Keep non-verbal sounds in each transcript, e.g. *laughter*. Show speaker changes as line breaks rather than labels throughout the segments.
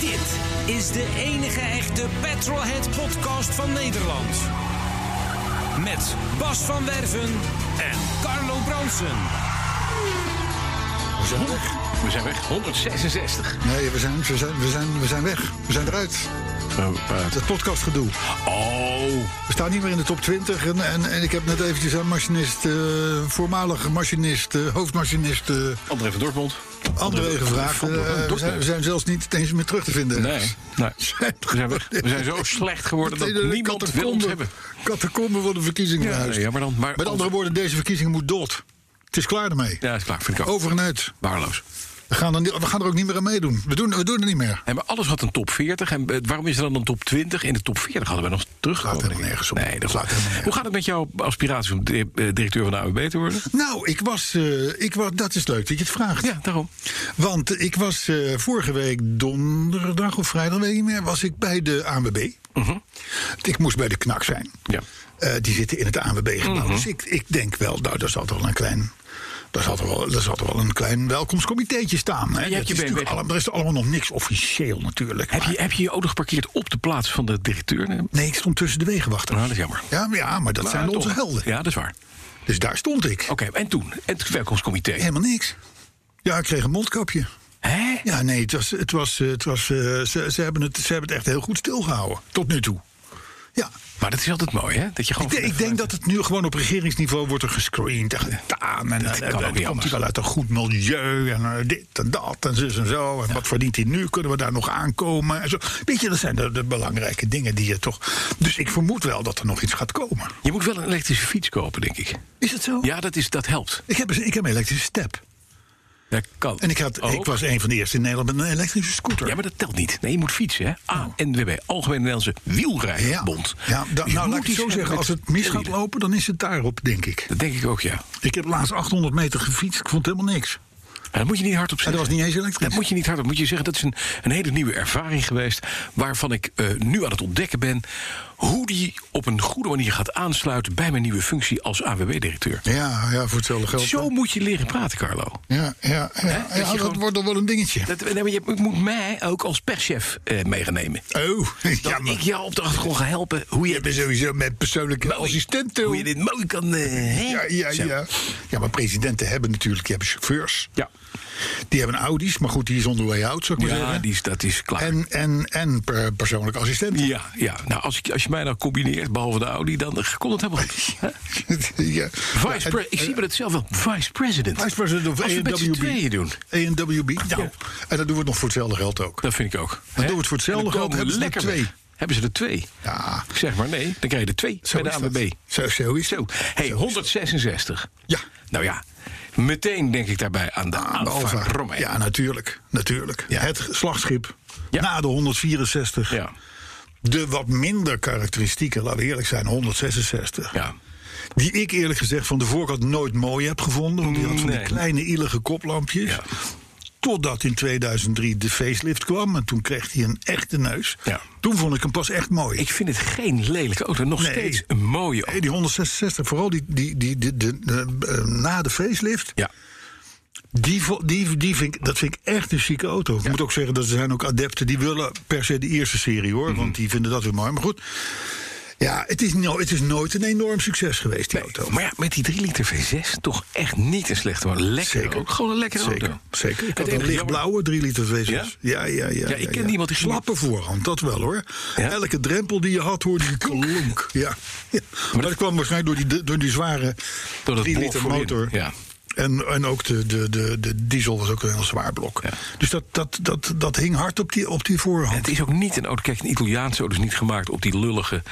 Dit is de enige echte Petrolhead podcast van Nederland. Met Bas van Werven en Carlo Bronsen.
We zijn weg. We zijn weg. 166.
Nee, we zijn, we, zijn, we, zijn, we zijn weg. We zijn eruit. Dat podcastgedoe.
oh.
We staan niet meer in de top 20. En, en, en ik heb net eventjes aan machinist, eh, voormalig machinist, eh, hoofdmachinist eh,
André van Dortmund.
André gevraagd.
van
Eh,
Dortmund.
we, zijn, we zijn zelfs niet eens meer terug te vinden.
Nee, nee. We zijn weg. We zijn
*laughs*
zo slecht geworden dat niemand wil ons hebben.
Catacomben worden verkiezingen
Ja,
ja,
nee, jammer dan. Maar
Met andere woorden, deze verkiezingen moet dood. Het is klaar ermee.
Ja, is klaar. Vind ik ook.
Over en uit.
Waarloos.
We gaan, er, niet- we gaan er ook niet meer aan meedoen. We doen, we doen het niet meer.
En maar alles had een top 40. En eh, waarom is er dan een top 20? In de top 40 hadden we nog teruggekomen.
Slaat helemaal nergens op.
Nee, dat
Slaat helemaal nergens
Hoe gaat het met jouw aspiratie om di- eh, directeur van de AWB te worden?
Nou, ik was, eh, ik was. Dat is leuk dat je het vraagt.
Ja, daarom.
Want ik was eh, vorige week donderdag of vrijdag, weet ik niet meer, was ik bij de ANWB.
Mhm.
Ik moest bij de knak zijn.
Ja.
Eh, die zitten in het ANWB-gebouw.
Mhm.
Dus ik, ik denk wel, nou, daar zal toch wel een klein... Daar zal toch wel, daar zal toch wel een klein welkomstcomiteetje staan. Hè?
je hebt
Dat
je
is
BMW.
natuurlijk allemaal, er is allemaal nog niks officieel natuurlijk.
Heb je
maar-
heb je, je auto geparkeerd op de plaats van de directeur? Nou,
Nee, ik stond tussen de wegenwachters.
dat is jammer.
Ja, maar- ja, maar dat zijn
Maar
onze
toch.
helden.
Ja, dat is waar.
Dus daar stond ik.
Oké, en toen? En het welkomstcomité.
Helemaal niks. Ja, ik kreeg een mondkapje.
Hè?
Ja, nee, het was, het was, eh, het was, eh, ze, ze, hebben het, ze hebben het echt heel goed stilgehouden. Tot nu toe. Ja,
Maar dat is altijd mooi, hè? Dat je
ik,
gewoon
de- ik denk dat het nu gewoon op regeringsniveau wordt er gescreend en gedaan. En
Dat kan
en-
ook
en- en
niet
komt
anders.
hij wel uit een goed milieu en eh, dit en dat en zus en zo. En wat verdient hij nu? Kunnen we daar nog aankomen? En zo. Weet je, dat zijn de, de belangrijke dingen die je toch... Dus ik vermoed wel dat er nog iets gaat komen.
Je moet wel een elektrische fiets kopen, denk ik.
Is dat zo?
Ja, dat, is, dat helpt.
Ik heb, ik heb een elektrische step.
Dat kan.
En ik, had, ik
ook.
was een van de eerste in Nederland met een elektrische scooter.
Ja, maar dat telt niet. Nee, je moet fietsen, hè? ANWB, Algemene Nederlandse Wielrijdersbond.
Oh. Ja, ja, da-
Je
nou,
moet
laat ik het
iets
zo
hebben
zeggen.
met
Als het mis gaat
wielrennen.
lopen, dan is het daarop, denk ik.
Dat denk ik ook, ja.
Ik heb laatst 800 meter gefietst. Ik vond helemaal niks.
Maar dat moet je niet hardop
En
zeggen.
dat was niet eens elektrisch.
Dat moet je niet hardop. Moet je zeggen, dat is een, een hele nieuwe ervaring geweest... waarvan ik eh, nu aan het ontdekken ben... hoe die op een goede manier gaat aansluiten... bij mijn nieuwe functie als AWB-directeur.
Ja, ja, voor hetzelfde geld.
Zo moet je leren praten, Carlo.
Ja, ja, ja,
Hè? Dat
ja,
je
dat
gewoon-
wordt dan wel een dingetje.
Dat, nee, maar je ik moet mij ook als perschef eh meegenemen.
Oh, *laughs*
Dat
ja, maar
ik jou op de achtergrond ga helpen hoe je,
je bent sowieso met persoonlijke assistenten.
hoe je dit mooi kan... eh, hè?
Ja, ja,
Zo.
ja. ja, maar presidenten hebben natuurlijk die hebben chauffeurs.
Ja.
Die hebben Audi's, maar goed, die is on the way out, zou ik maar
Ja,
zeggen.
die is, dat is klaar.
En, en, en per- persoonlijke assistenten.
ja, ja. Nou, als, ik, als je mij nou combineert, behalve de Audi, dan eh, komt het helemaal
*laughs*
goed. Hè?
*laughs* ja. Ja,
Vice
en-
pre- ik zie me dat zelf wel. Vice president.
Vice president of
Als we met z'n
AWB.
tweeën doen.
AWB. Nou,
Ja.
en dan doen we het nog voor hetzelfde geld ook.
Dat vind ik ook. Dan
doen we het voor hetzelfde geld, hebben ze er
lekker
twee.
weg. Hebben ze er twee?
Ja.
Ik zeg maar nee, dan krijg je er twee bij de
is dat.
ANWB.
Zo, zo is
Zo,
het.
hey, 166.
Ja.
Nou ja, meteen denk ik daarbij aan de
Aan de
Alfa
Alfa.
Romeo.
Ja, natuurlijk. natuurlijk.
Ja.
Het slagschip.
Ja.
Na de 164.
Ja.
De wat minder karakteristieken, laten we eerlijk zijn, 166.
Ja.
Die ik eerlijk gezegd van de voorkant nooit mooi heb gevonden. Want die had van
Nee.
die kleine, ielige koplampjes.
Ja.
Totdat in 2003 de facelift kwam. En toen kreeg hij een echte neus.
Ja.
Toen vond ik hem pas echt mooi.
Ik vind het geen lelijke auto. Nog
Nee.
steeds een mooie auto.
Hey, die 166, vooral die, die, die, die- de- de- eh, na de facelift.
Ja.
Die, vo- die, die vind ik, dat vind ik echt een chique auto. Ik moet ook zeggen dat er zijn ook adepten die willen per se de eerste serie hoor. Want die vinden dat weer mooi. Maar goed, ja, het is, no- het is nooit een enorm succes geweest, die auto.
Maar ja, met die 3 liter V6 toch echt niet een slechte auto. Lekker
Zeker.
ook. Gewoon een lekkere
zeker,
auto.
Zeker. Ik
Het
had
enige
een
jammer-
lichtblauwe 3 liter V6.
Ja?
Ja, ja, ja.
Ja, ik ken iemand die ging-
Slappe voorhand, dat wel hoor.
Ja?
Elke drempel die je had hoorde je
*laughs*
klonk. Ja. ja. Maar dat kwam waarschijnlijk door die, door die zware
Door dat
3 liter
bol voorin.
motor.
Ja.
En, en ook de, de, de, de diesel was ook een heel zwaar blok. Dus dat, dat, dat, dat hing hard op die, op die voorhand.
Het is ook niet een auto. Kijk, een Italiaanse auto is niet gemaakt op die lullige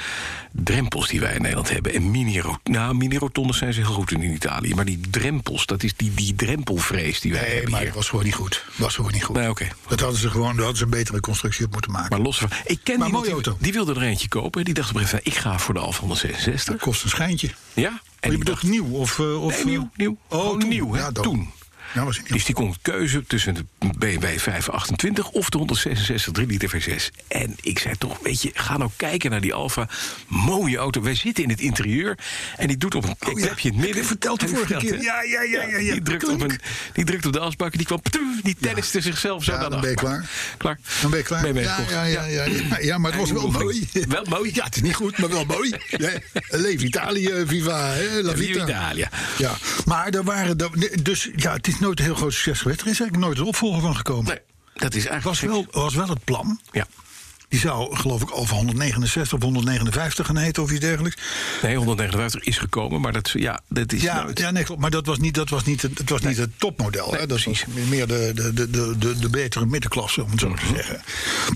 drempels die wij in Nederland hebben. En mini-rotondes nou, mini zijn ze heel goed in, in Italië. Maar die drempels, dat is die, die drempelvrees die wij
Nee,
hebben
maar
hier.
dat was gewoon niet goed. Was gewoon niet goed.
Nee, oké.
Dat hadden ze gewoon, daar hadden ze een betere constructie op moeten maken.
Maar los van. Ik ken
Maar
die
mooie auto.
Die wilde er eentje kopen. Die dacht op een gegeven moment: ik ga voor de Alfa 166.
dat kost een schijntje.
Ja?
En
die
je bedoelt
dacht-
nieuw of... eh, of
Nee, nieuw,
eh,
nieuw.
Oh,
Gewoon
toen.
nieuw, hè?
Ja, dan.
toen.
Ja, was het nieuw.
Dus die kon keuze tussen de BMW 528 of de 166 3 liter V6. En ik zei toch, weet je, ga nou kijken naar die Alfa. Mooie auto. Wij zitten in het interieur. En die doet op een
Oh, ja.
knopje in het midden.
Heb je verteld de
Heb je
vorige
verteld,
keer?
hè?
Ja, ja, ja, ja, ja.
Die, drukt op
Klink.
een, die drukt op de asbak en die kwam... ptum, die tenniste zichzelf zo
Ja,
naar de
dan ben je
asbak. Klaar.
Dan ben je klaar.
je
ja,
gekocht.
ja, ja, ja, ja, ja, maar het was wel mooi.
Wel mooi.
Ja, *laughs* het is niet goed, maar wel mooi. Hè? Leef Italië, viva hè?
Viva
la vita.
Italia.
Ja, maar er waren... er- nee, Dus ja, het is nooit een heel groot succes geweest. Er is eigenlijk nooit een opvolger van gekomen.
Nee, dat is eigenlijk...
was
gek.
wel, was wel het plan.
Ja.
Die zou, geloof ik, over 169 of 159 gaan heten of iets dergelijks.
Nee, 159 is gekomen, maar dat, ja, dat is
Ja,
nooit-
ja nee, klopt. maar dat was niet, dat was niet, het het was niet het topmodel. hè? Dat was meer de, de, de, de, de, de betere middenklasse, om het zo maar
Mhm.
te zeggen.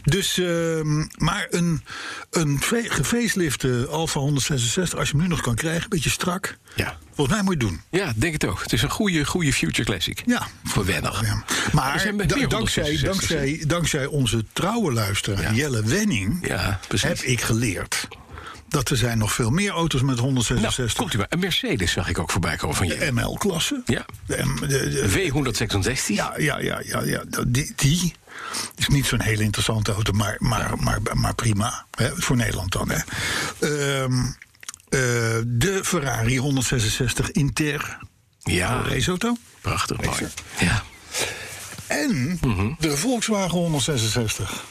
Dus, ehm, maar een, een fe- gefacelifte Alfa 166, als je hem nu nog kan krijgen, een beetje strak.
Ja.
Volgens mij moet je het doen.
Ja, denk het ook. Het is een goede, goede future classic.
Ja.
Voor wennig.
Ja.
Er
Maar
zijn met
da-
meer
dankzij,
166's.
dankzij, dankzij onze trouwe luisteraar
Ja.
Jelle Wenning
Ja, precies.
heb ik geleerd dat er zijn nog veel meer auto's met
Nou,
166
komt u maar. Een Mercedes zag ik ook voorbij komen van
Eh,
je.
ML-klassen.
Ja. W166.
eh, Ja, ja, ja, ja, ja. dat- Die, die is niet zo'n hele interessante auto, maar, maar, maar, maar prima. Hè? Voor Nederland dan. Hè? Ehm, eh, de Ferrari 166 Inter
Ja,
Oh, raceauto.
prachtig mooi. Ja.
En
Mhm.
de Volkswagen 166.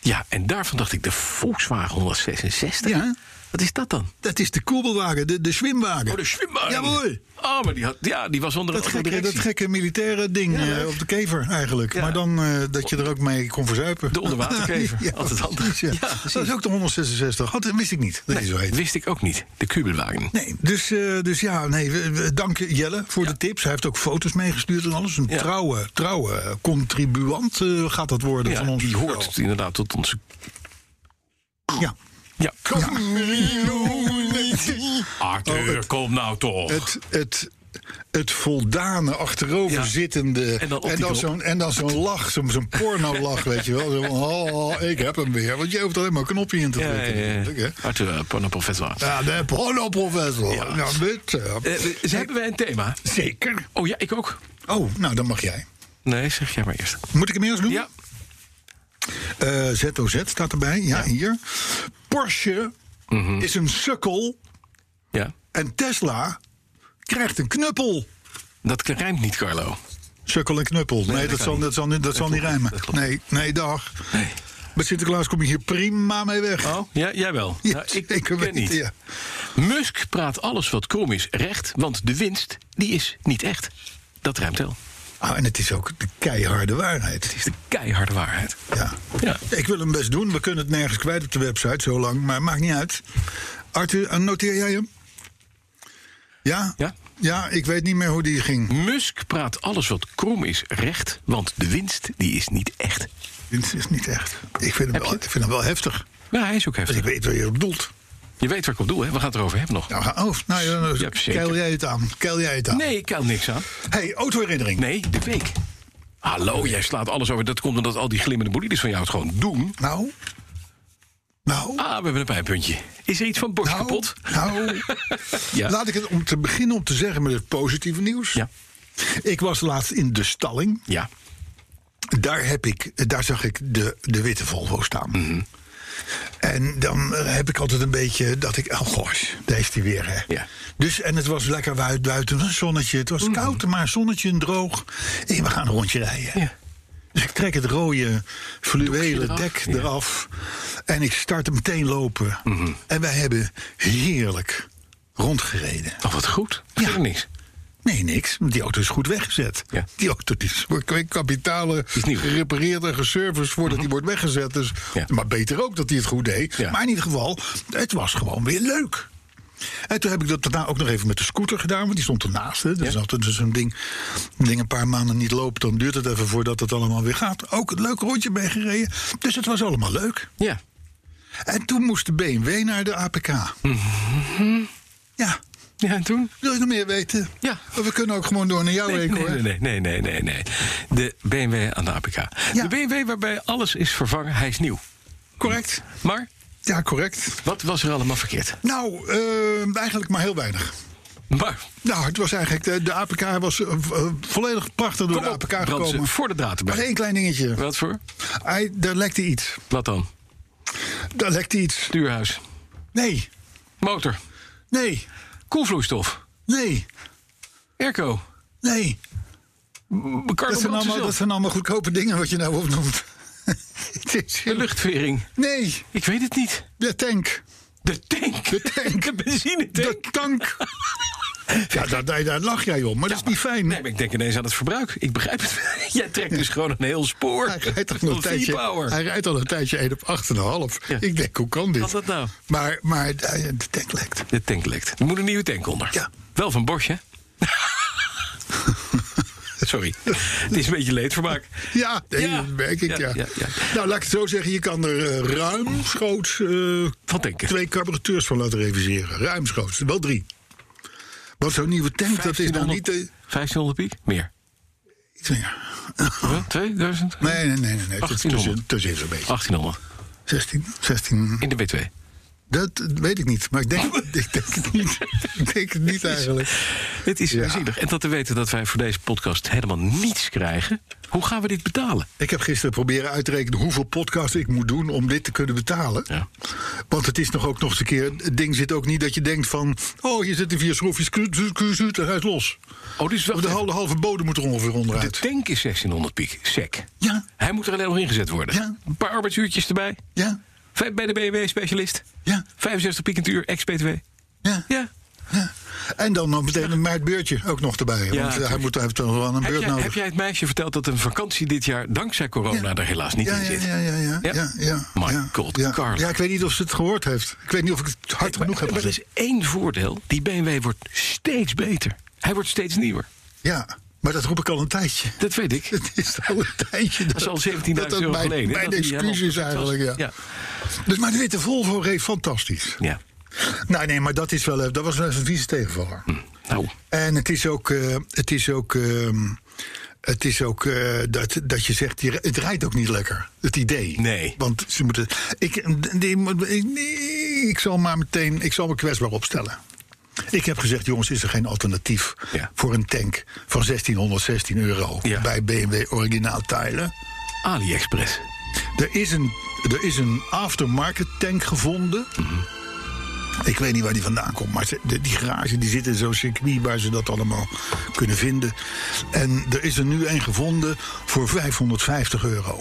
ja, en daarvan dacht ik de Volkswagen 166.
Ja.
Wat is dat dan?
Dat is de koebelwagen, de, de zwimwagen.
Oh, de Schwimmer.
Jawohl.
Oh, maar die, had, ja, die was onder
Dat
andere
gekke, dat
directie.
gekke militaire ding
Ja,
eh,
leuk.
op de kever eigenlijk.
Ja.
Maar dan eh, dat je er ook mee kon verzuipen.
De onderwaterkever. Altijd handig.
precies, *laughs* Ja.
Ja, precies.
dat is ook de 166. Had, dat wist ik niet. Dat
Nee,
is zo heet.
wist ik ook niet. De Kubelwagen.
Nee, dus, eh, dus ja, nee, we- we- dank Jelle voor de tips. Hij heeft ook foto's meegestuurd en alles. Een
Ja.
trouwe, trouwe contribuant eh, gaat dat worden
Ja,
van ons.
die hoort inderdaad tot onze...
Ja.
Ja.
Ja.
Arthur,
Oh, het-
kom nou toch.
het, het, het voldane achteroverzittende.
En dan op
en
die
dan
knop.
zo'n en dan zo'n lach, zo'n zo'n
*laughs*
porno-lach, weet je wel. Zo, van, oh, oh, ik heb hem weer. Want je hoeft alleen maar een knopje in te
Ja,
drukken.
ja,
natuurlijk, hè.
ja. Arthur, eh, pornoprofessor.
Ja, de porno-professor.
Ja.
Nou, dit, eh,
Eh, we- ze hebben wij een thema?
zeker.
Oh ja, ik ook.
Oh, nou, dan mag jij.
Nee, zeg jij maar eerst.
Moet ik hem eerst doen?
Ja,
Eh, ZOZ staat erbij. Ja, hier. Porsche
Mhm.
is een sukkel
ja.
en Tesla krijgt een knuppel.
Dat rijmt niet, Carlo.
Sukkel en knuppel. Nee,
dat
dat,
kan
zal,
niet.
dat zal, niet- dat zal niet
klopt
rijmen.
niet, dat klopt
Nee, nee, dag.
Nee.
Bij Sinterklaas kom je hier prima mee weg.
Oh, ja, jij wel.
*laughs* Ja,
Nou, ik
zeker
ken
weten,
niet.
ja.
Musk praat alles wat krom is recht, want de winst die is niet echt. Dat ruimt wel.
Ah, en het is ook de keiharde
Het
waarheid.
is de keiharde waarheid.
Ja.
Ja.
Ik wil hem best doen. We kunnen het nergens kwijt op de website, zo lang. Maar maakt niet uit. Arthur, eh, noteer jij hem? Ja?
Ja.
Ja, ik weet niet meer hoe die ging.
Musk praat alles wat krom is recht, want de winst die is niet echt.
Dit is niet echt. Ik vind hem,
Heb
wel,
je
ik vind hem wel heftig.
Ja, hij is ook
Want ik
heftig.
weet wat je bedoelt.
Je weet waar ik op doel, hè? We gaan het erover hebben nog.
Nou, ga- oh, nou ja, dan
Ja, zeker.
keil jij het aan. Keil jij het aan.
Nee, ik kan niks aan.
Hey, autoherinnering.
Nee, de week. Hallo, jij slaat alles over. Dat komt omdat al die glimmende bolides van jou het gewoon doen.
Nou. Nou.
Ah, we hebben een pijnpuntje. Is er iets van Bosch
Nou,
kapot?
nou.
*laughs* Ja.
laat ik het om te beginnen om te zeggen met het positieve nieuws.
Ja.
Ik was laatst in de stalling.
Ja.
Daar, heb ik, daar zag ik de, de witte Volvo staan.
Mhm.
En dan eh, heb ik altijd een beetje dat ik... Oh, goh, daar is die weer, hè.
Ja. Mhm.
Dus, en het was lekker wui- buiten, een zonnetje. Het was koud, maar zonnetje en droog. Hé, we gaan een rondje rijden.
Ja.
Dus ik trek het rode fluwelen
eraf,
dek
ja. Mhm.
eraf. En ik start hem meteen lopen. En wij hebben heerlijk rondgereden.
Oh, wat goed.
Ja.
Verder niks.
Nee, niks. want Die auto is goed weggezet.
Ja.
Die auto is voor k- kapitalen
Is nieuw. Mhm.
gerepareerd en geserviced voordat die wordt weggezet. Dus,
Ja.
Maar beter ook dat hij het goed deed.
Ja.
Maar in ieder geval, het was gewoon weer leuk. En toen heb ik dat daarna ook nog even met de scooter gedaan, want die stond ernaast. Hè. Dat is altijd dus zo'n ding. Een ding een paar maanden niet loopt, dan duurt het even voordat het allemaal weer gaat. Ook een leuk rondje mee gereden. Dus het was allemaal leuk.
Ja.
En toen moest de BMW naar de APK.
Mhm.
Ja.
Ja, en toen?
Wil je nog meer weten? Oh,
Ja.
We kunnen ook gewoon door naar jou
Nee,
heen, Oh, hoor.
nee, nee, nee, nee, nee, nee. De BMW aan de APK. De BMW waarbij alles is vervangen, hij is nieuw.
Correct.
Maar
Ja, correct.
wat was er allemaal verkeerd?
Nou, eh, eigenlijk maar heel weinig.
Maar
Nou, het was eigenlijk. De, de APK was eh, v- eh, volledig prachtig door
kom
de
op,
APK
Brandsen,
gekomen.
voor de datum.
Maar één klein dingetje.
Wat voor?
Hij, daar lekte iets.
Wat dan?
Daar lekte iets.
Stuurhuis,
Nee,
motor,
nee,
koelvloeistof,
nee,
airco,
nee. Dat zijn, allemaal, dat
karbonatzelf,
zijn allemaal goedkope dingen wat je nou opnoemt. *laughs* Het is
de
heel-
luchtvering.
Nee,
Ik weet het niet.
de tank.
De tank.
De
*laughs*
tank.
De benzinetank.
De tank. Ja, daar, daar, daar lach jij om, maar dat is niet fijn.
Nee, maar ik denk ineens aan het verbruik. Ik begrijp het. *laughs* Jij trekt dus gewoon een heel spoor.
Hij rijdt, toch nog een
Van
tijdje,
V-Power.
hij rijdt al een tijdje 1 op 8,5.
Ja.
Ik denk, hoe kan dit?
Wat dat nou?
Maar, maar eh, de tank lekt.
De tank lekt. Er moet een nieuwe tank onder.
Ja.
Wel van Bosch,
*laughs*
hè? Sorry. Het is een beetje leedvermaak.
Ja, nee,
Ja.
dat merk ik,
Ja,
ja.
ja, ja.
Nou, laat ik het zo zeggen. Je kan er eh, ruimschoots eh,
Van tanken.
twee carburateurs van laten reviseren. Ruimschoots, wel drie. Want zo'n nieuwe tank, dat is nou niet... eh,
1500 piek? Meer.
iets meer.
Huh? 2000?
nee, nee, nee, nee. nee. Het is
1800.
tussen, tussen zo'n beetje.
1800.
16, 16...
In de B2.
Dat weet ik niet, maar ik denk,
Ah.
*laughs* ik denk het niet. Ik denk het
*laughs*
niet eigenlijk.
Het is
Ja.
zielig. En dat te weten dat wij voor deze podcast helemaal niets krijgen. Hoe gaan we dit betalen?
Ik heb gisteren proberen uit te rekenen hoeveel podcasts ik moet doen om dit te kunnen betalen.
Ja.
Want het is nog ook nog eens een keer. Het ding zit ook niet dat je denkt van. Oh, hier zitten vier schroefjes. kru- kru- kru- kru- en Hij is los.
Oh, dus
De halve, halve bodem moet er ongeveer
De
onderuit.
tank is 1600 piek. Sec.
Ja.
Hij moet er alleen nog ingezet worden.
Ja.
Een paar arbeidsuurtjes erbij.
Ja,
Vijf Bij de BMW-specialist.
ja,
65 piek in het uur, ex-BTW.
ja.
Ja.
ja. En dan nog meteen een maartbeurtje ook nog erbij. Want eh, hij
tuurlijk.
moet hij heeft wel een
Heb
beurt
jij, heb
nodig.
jij het meisje verteld dat een vakantie dit jaar dankzij corona er helaas niet
Ja,
in
ja,
zit?
ja, ja, ja,
Ja?
ja, ja.
My
ja,
God,
ja.
Carlo.
Ja, ik weet niet of ze het gehoord heeft. Ik weet niet of ik het hard genoeg heb
Maar er
gezegd.
is één voordeel. Die BMW wordt steeds beter. Hij wordt steeds nieuwer.
Ja, maar dat roep ik al een tijdje.
Dat weet ik.
Het is al een tijdje.
Dat is al 17.000
dat dat
euro
mijn,
geleden. hè,
Mijn
dat die
excuus is
helemaal-
eigenlijk, ja.
Ja.
Dus, maar de witte Volvo reed fantastisch.
ja.
Nou, nee, maar dat, is wel, eh, dat was wel eens een vieze tegenvaller.
Nou,
En het is ook... eh, het is ook ehm, het is ook eh, dat, dat je zegt, die- het rijdt ook niet lekker. Het idee.
Nee.
Want ze moeten. Ik, die moet- ik, nee, ik zal maar meteen. Ik zal me kwetsbaar opstellen. Ik heb gezegd, jongens, is er geen alternatief
Ja.
voor een tank van 1616 euro
Ja.
bij BMW Originaal Tijlen?
AliExpress.
Er is een, er is een aftermarket tank gevonden. Ik weet niet waar die vandaan komt, maar ze- de- die garage die zit in zo'n circuit waar ze dat allemaal kunnen vinden. En er is er nu een gevonden voor 550 euro.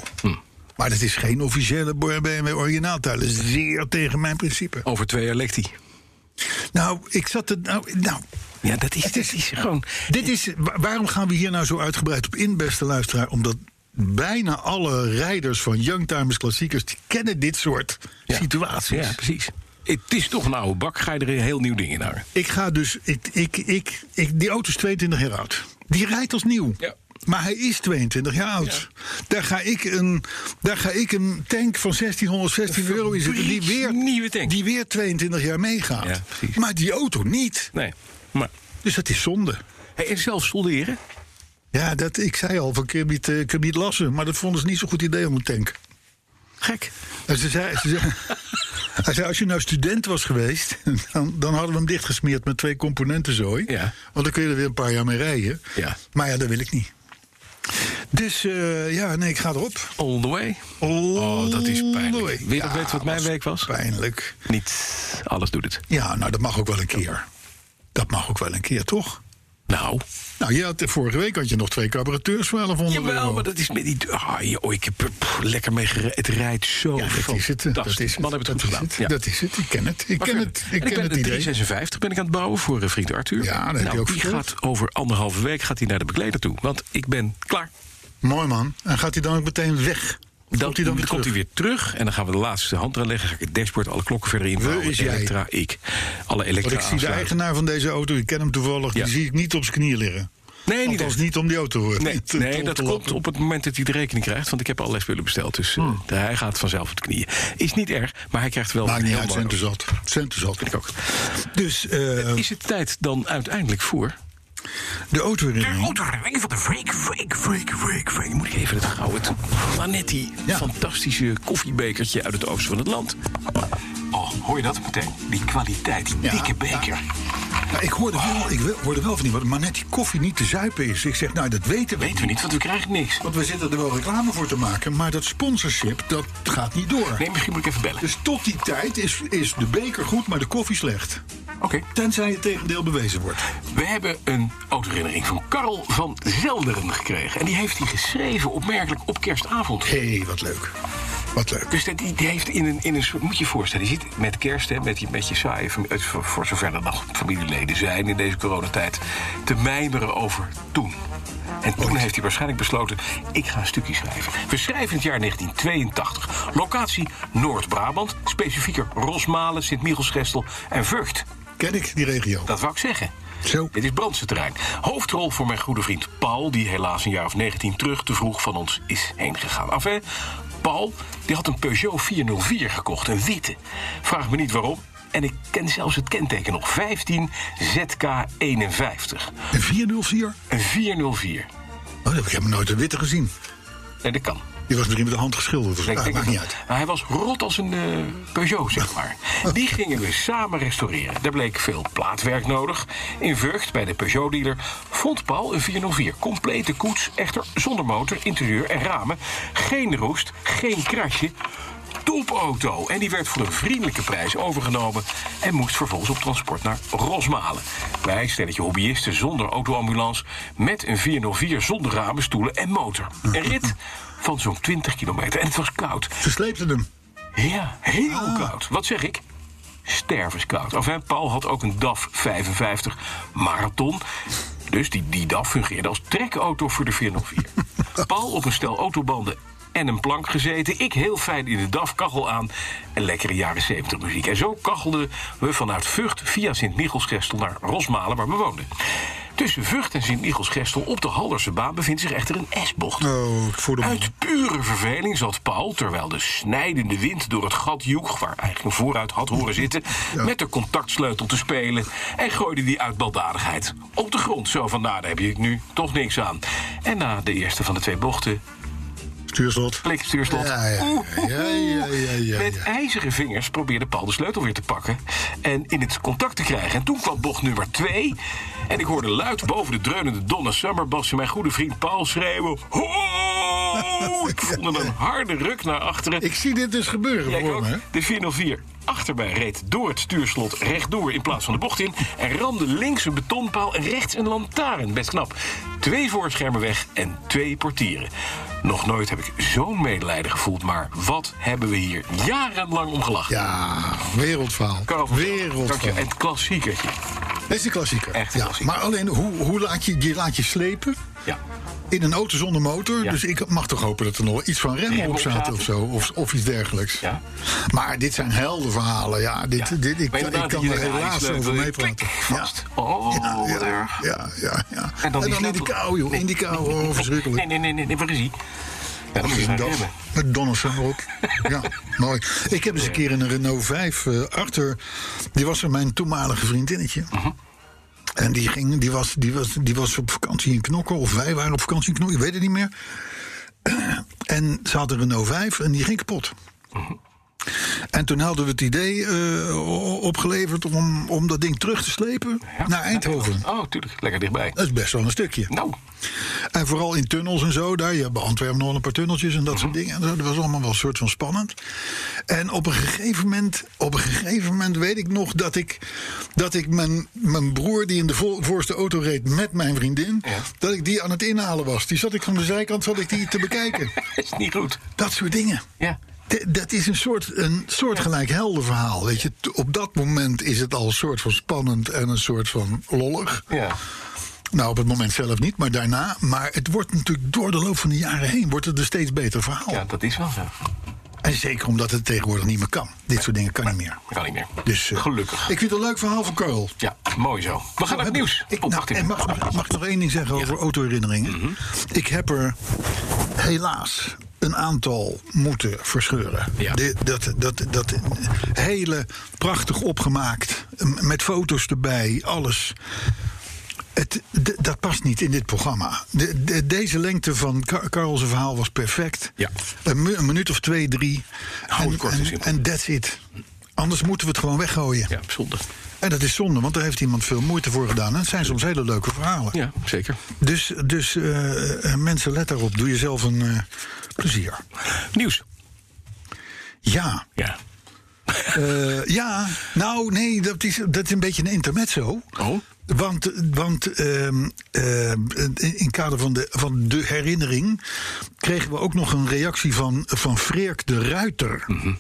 Maar dat is geen officiële BMW originaaltuilen. Zeer tegen mijn principe.
Over twee jaar lekt hij.
Nou, ik zat er. Nou, nou
Ja, dat is, dat is gewoon...
dit is, wa- waarom gaan we hier nou zo uitgebreid op in, beste luisteraar? Omdat bijna alle rijders van Youngtimers klassiekers... die kennen dit soort
Ja.
situaties.
Ja, precies. Het is toch een oude bak. Ga je er een heel nieuw ding in houden.
Ik ga dus... Ik, ik, ik, ik, die auto is 22 jaar oud. Die rijdt als nieuw.
Ja.
Maar hij is 22 jaar oud. Daar, ga ik een, daar ga ik een tank van 1616 euro in zetten. Die weer,
nieuwe tank.
die weer 22 jaar meegaat.
Ja, precies.
maar die auto niet.
Nee, maar...
Dus dat is zonde.
Hey, en zelf solderen?
Ja, dat, ik zei al van Kirbiet, eh Kirbiet Lassen, maar dat vonden ze niet zo'n goed idee om een tank.
Gek.
En ze zei, ze zei, *laughs* hij zei, als je nou student was geweest, *laughs* dan, dan hadden we hem dichtgesmeerd met twee componenten zooi.
Ja.
Want dan kun je er weer een paar jaar mee rijden.
Ja.
Maar ja, dat wil ik niet. Dus eh, ja, nee, ik ga erop.
All the way.
Oh,
dat is pijnlijk. Wil je nog weten wat mijn week was?
Pijnlijk.
Niet alles doet het.
Ja, nou, dat mag ook wel een keer. Dat mag ook wel een keer, toch?
Nou.
Nou, je had, vorige week had je nog twee carburateurs voor 1100 euro.
Jawel, maar dat is met die... Ah, joh, ik heb er pff, lekker mee gereden. Het rijdt zo
Ja, dat is het.
fantastisch.
Dat is het.
Man, heb het goed
Dat is
gedaan.
het.
Ja.
Dat is het. Ik ken het. Ik
Maar
ken
verder.
het.
En
Ik ken
ben
het
de
idee.
356 ben ik aan het bouwen voor eh, vriend Arthur.
Ja, dat heb
nou,
je ook
die
verteld.
gaat over anderhalve week gaat hij naar de bekleder toe. Want ik ben klaar.
Mooi man. En gaat hij dan ook meteen weg?
Dan
Komt hij dan weer
komt hij
terug?
weer terug en dan gaan we de laatste hand eraan leggen. Ga ik het dashboard, alle klokken verder invouwen.
Wie is jij?
Elektra, ik. Alle
Want
elektra
ik zie de
aansluiten.
eigenaar van deze auto, ik ken hem toevallig,
Ja.
die zie ik niet op zijn knieën liggen.
Nee, niet
Althans,
echt.
niet om die auto hoor.
Nee,
Te-
nee
te
dat
ontlappen.
komt op het moment dat hij de rekening krijgt. Want ik heb allerlei spullen besteld. Dus eh, hij gaat vanzelf op de knieën. Is niet erg, maar hij krijgt wel
Hmm. Maakt niet
heel
uit,
mooi
centen zat. Centen zat.
Ik ook.
Dus eh,
Is het tijd dan uiteindelijk voor...
de auto erin.
Autoherinnering van de Freak, Freak, Freak, Freak, Freak. Moet ik even het gouden Planetti.
Ja.
Fantastische koffiebekertje uit het oosten van het land. Oh, hoor je dat meteen? Die kwaliteit, die
Ja.
dikke beker.
Ja, ik hoorde wel, ik wel- hoorde wel van iemand, maar net die koffie niet te zuipen is. Ik zeg, nou dat weten we.
Weten we niet, want we krijgen niks.
Want we zitten er wel reclame voor te maken, maar dat sponsorship, dat gaat niet door.
Nee, misschien moet ik even bellen.
Dus tot die tijd is, is de beker goed, maar de koffie slecht.
Oké.
Tenzij het tegendeel bewezen wordt.
We hebben een autoherinnering van Karl van Zelderen gekregen. En die heeft hij geschreven, opmerkelijk, op kerstavond.
Hé, wat leuk. Wat leuk.
Dus dat- die, die heeft in een, in een soort, moet je je voorstellen, je zit met kerst, hè, met, je, met je saaie familie, voor, voor zover er nog familieleden zijn in deze coronatijd, te mijmeren over toen. En toen heeft hij waarschijnlijk besloten, ik ga een stukje schrijven. We schrijven het jaar 1982. Locatie Noord-Brabant, specifieker Rosmalen, Sint-Michelsgestel en Vught.
Ken ik die regio?
Dat wou ik zeggen.
Zo.
Dit is Brandse terrein. Hoofdrol voor mijn goede vriend Paul, die helaas een jaar of 19 terug te vroeg van ons is heen gegaan. Enfin, Paul die had een Peugeot 404 gekocht, een witte. Vraag me niet waarom. En ik ken zelfs het kenteken nog, 15 ZK51.
Een 404?
Een 404.
Oh, dat heb ik helemaal nooit een witte gezien.
Nee, dat kan.
Die was misschien met de hand geschilderd. of
Nee,
zo.
ik
Ah,
denk
maakt
dat-
niet uit.
Maar hij was rot als een eh, Peugeot, zeg maar. Die gingen we samen restaureren. Daar bleek veel plaatwerk nodig. In Vught, bij de Peugeot-dealer, vond Paul een 404. Complete koets, echter zonder motor, interieur en ramen. Geen roest, geen krasje. Topauto. En die werd voor een vriendelijke prijs overgenomen... en moest vervolgens op transport naar Rosmalen. Wij, stelletje hobbyisten zonder autoambulance... met een 404 zonder ramen, stoelen en motor. Een rit van zo'n 20 kilometer. En het was koud.
Ze sleepten hem.
Ja, heel koud. Wat zeg ik? Stervenskoud. Enfin, Paul had ook een DAF 55 marathon. Dus die, die DAF fungeerde als trekauto voor de 404. Paul op een stel autobanden en een plank gezeten. Ik heel fijn in de DAF, kachel aan en lekkere jaren 70 muziek. En zo kachelden we vanuit Vught via Sint-Michelsgestel naar Rosmalen, waar we woonden. Tussen Vught en Sint-Michelsgestel op de Hallerse baan bevindt zich echter een S-bocht.
Oh, voor de man.
Uit pure verveling zat Paul, terwijl de snijdende wind door het gat joeg... waar eigenlijk vooruit had horen zitten, met de contactsleutel te spelen... en gooide die uit baldadigheid op de grond. Zo van, nou, daar heb je nu toch niks aan. En na de eerste van de twee bochten,
Stuurslot.
klikstuurslot...
Ja, ja,
oeh,
ja, ja, ja, ja,
met
ja.
ijzeren vingers probeerde Paul de sleutel weer te pakken... en in het contact te krijgen. En toen kwam bocht nummer twee... en ik hoorde luid boven de dreunende Donna Summerbas... en mijn goede vriend Paul schreeuwen... Ho! Ik voelde een harde ruk naar achteren.
Ik zie dit dus gebeuren
Jij
voor
ook.
me. hè?
De 404 achterbij reed door het stuurslot rechtdoor in plaats van de bocht in. En ramde links een betonpaal en rechts een lantaarn. Best knap. Twee voorschermen weg en twee portieren. Nog nooit heb ik zo'n medelijden gevoeld, maar wat hebben we hier jarenlang om gelachen.
Ja, wereldverhaal.
Karel van Velden, dank je.
Wereldverhaal.
En het klassiekertje.
Dat is de klassieker.
Echt een klassieker.
Maar alleen, hoe, hoe laat je, je laat je slepen?
Ja.
In een auto zonder motor.
Ja.
Dus ik mag toch hopen dat er nog iets van remmen
Remmen
op
op
zaten
zaten.
of zo. Of, of iets dergelijks.
Ja.
Maar dit zijn heldenverhalen. Ja, dit,
Ja.
Dit, ik,
Maar
ik
inderdaad,
kan
je
er
denkt, ah, die
helaas
sleutel,
over
die
meepraten.
klik,
Ja.
vast. Oh,
ja,
wat
ja,
erg.
Ja, ja, ja. En dan,
die
in de
sleutel.
kou, joh.
Nee,
In die kou.
nee, nee,
Oh,
nee.
verschrikkelijk.
Nee, nee, nee, nee, nee, waar is hij? Ja, dat
Wat
moet
is
je
een
nou
dat?
hebben.
Met Donners erop. Ja, mooi. Ik heb eens een keer in een Renault 5 eh, Arthur. Die was er mijn toenmalige vriendinnetje. En die, ging, die, was, die, was, die was op vakantie in Knokken. Of wij waren op vakantie in Knokken. Ik weet het niet meer. *clears throat* En ze had een Renault 5 en die ging kapot. En toen hadden we het idee eh, o- opgeleverd om, om dat ding terug te slepen
Ja.
naar Eindhoven.
Oh, tuurlijk. Lekker dichtbij.
Dat is best wel een stukje.
Nou, *laughs*
En vooral in tunnels en zo. Daar, je hebt bij Antwerpen nog wel een paar tunneltjes en dat soort dingen. En zo. Dat was allemaal wel een soort van spannend. En op een gegeven moment, op een gegeven moment weet ik nog dat ik, dat ik mijn, mijn broer, die in de vo- voorste auto reed met mijn vriendin, dat ik die aan het inhalen was. Die zat ik van de zijkant zat ik die te bekijken.
is niet goed.
Dat soort dingen.
Ja.
D- Dat is een soort een soortgelijk heldenverhaal. Weet je, T- op dat moment is het al een soort van spannend en een soort van lollig.
Ja.
Nou, op het moment zelf niet, maar daarna. Maar het wordt natuurlijk door de loop van de jaren heen wordt het een steeds beter verhaal.
Ja, dat is wel zo.
En zeker omdat het tegenwoordig niet meer kan. Dit soort dingen kan niet meer.
Dat kan niet meer.
Dus, eh,
Gelukkig.
Ik vind het een leuk verhaal van Carl.
Ja, mooi zo. We gaan naar het nieuws.
Ik,
Oh,
nou,
wacht even. Mhm.
en mag, mag ik nog één ding zeggen over autoherinneringen? Ik heb er helaas een aantal moeten verscheuren.
Ja.
De- dat, dat, dat hele prachtig opgemaakt, m- met foto's erbij, alles. Het, d- dat past niet in dit programma. De, de- deze lengte van Ka- Karl's verhaal was perfect.
Ja.
Een, mu- een minuut of twee, drie.
Hou het
en,
kort en
en,
simpel.
en that's it. Anders moeten we het gewoon weggooien.
Ja, zonde.
En dat is zonde, want daar heeft iemand veel moeite voor gedaan. En het zijn soms hele leuke verhalen.
Ja, zeker.
Dus, dus eh, eh, mensen, let daarop. Doe jezelf een eh, plezier.
Nieuws.
Ja.
Ja.
Eh, ja, nou nee, dat is, dat is een beetje een intermezzo.
Oh.
Want, want ehm, ehm, in in kader van de, van de herinnering kregen we ook nog een reactie van, van Freerk de Ruiter.
Mhm.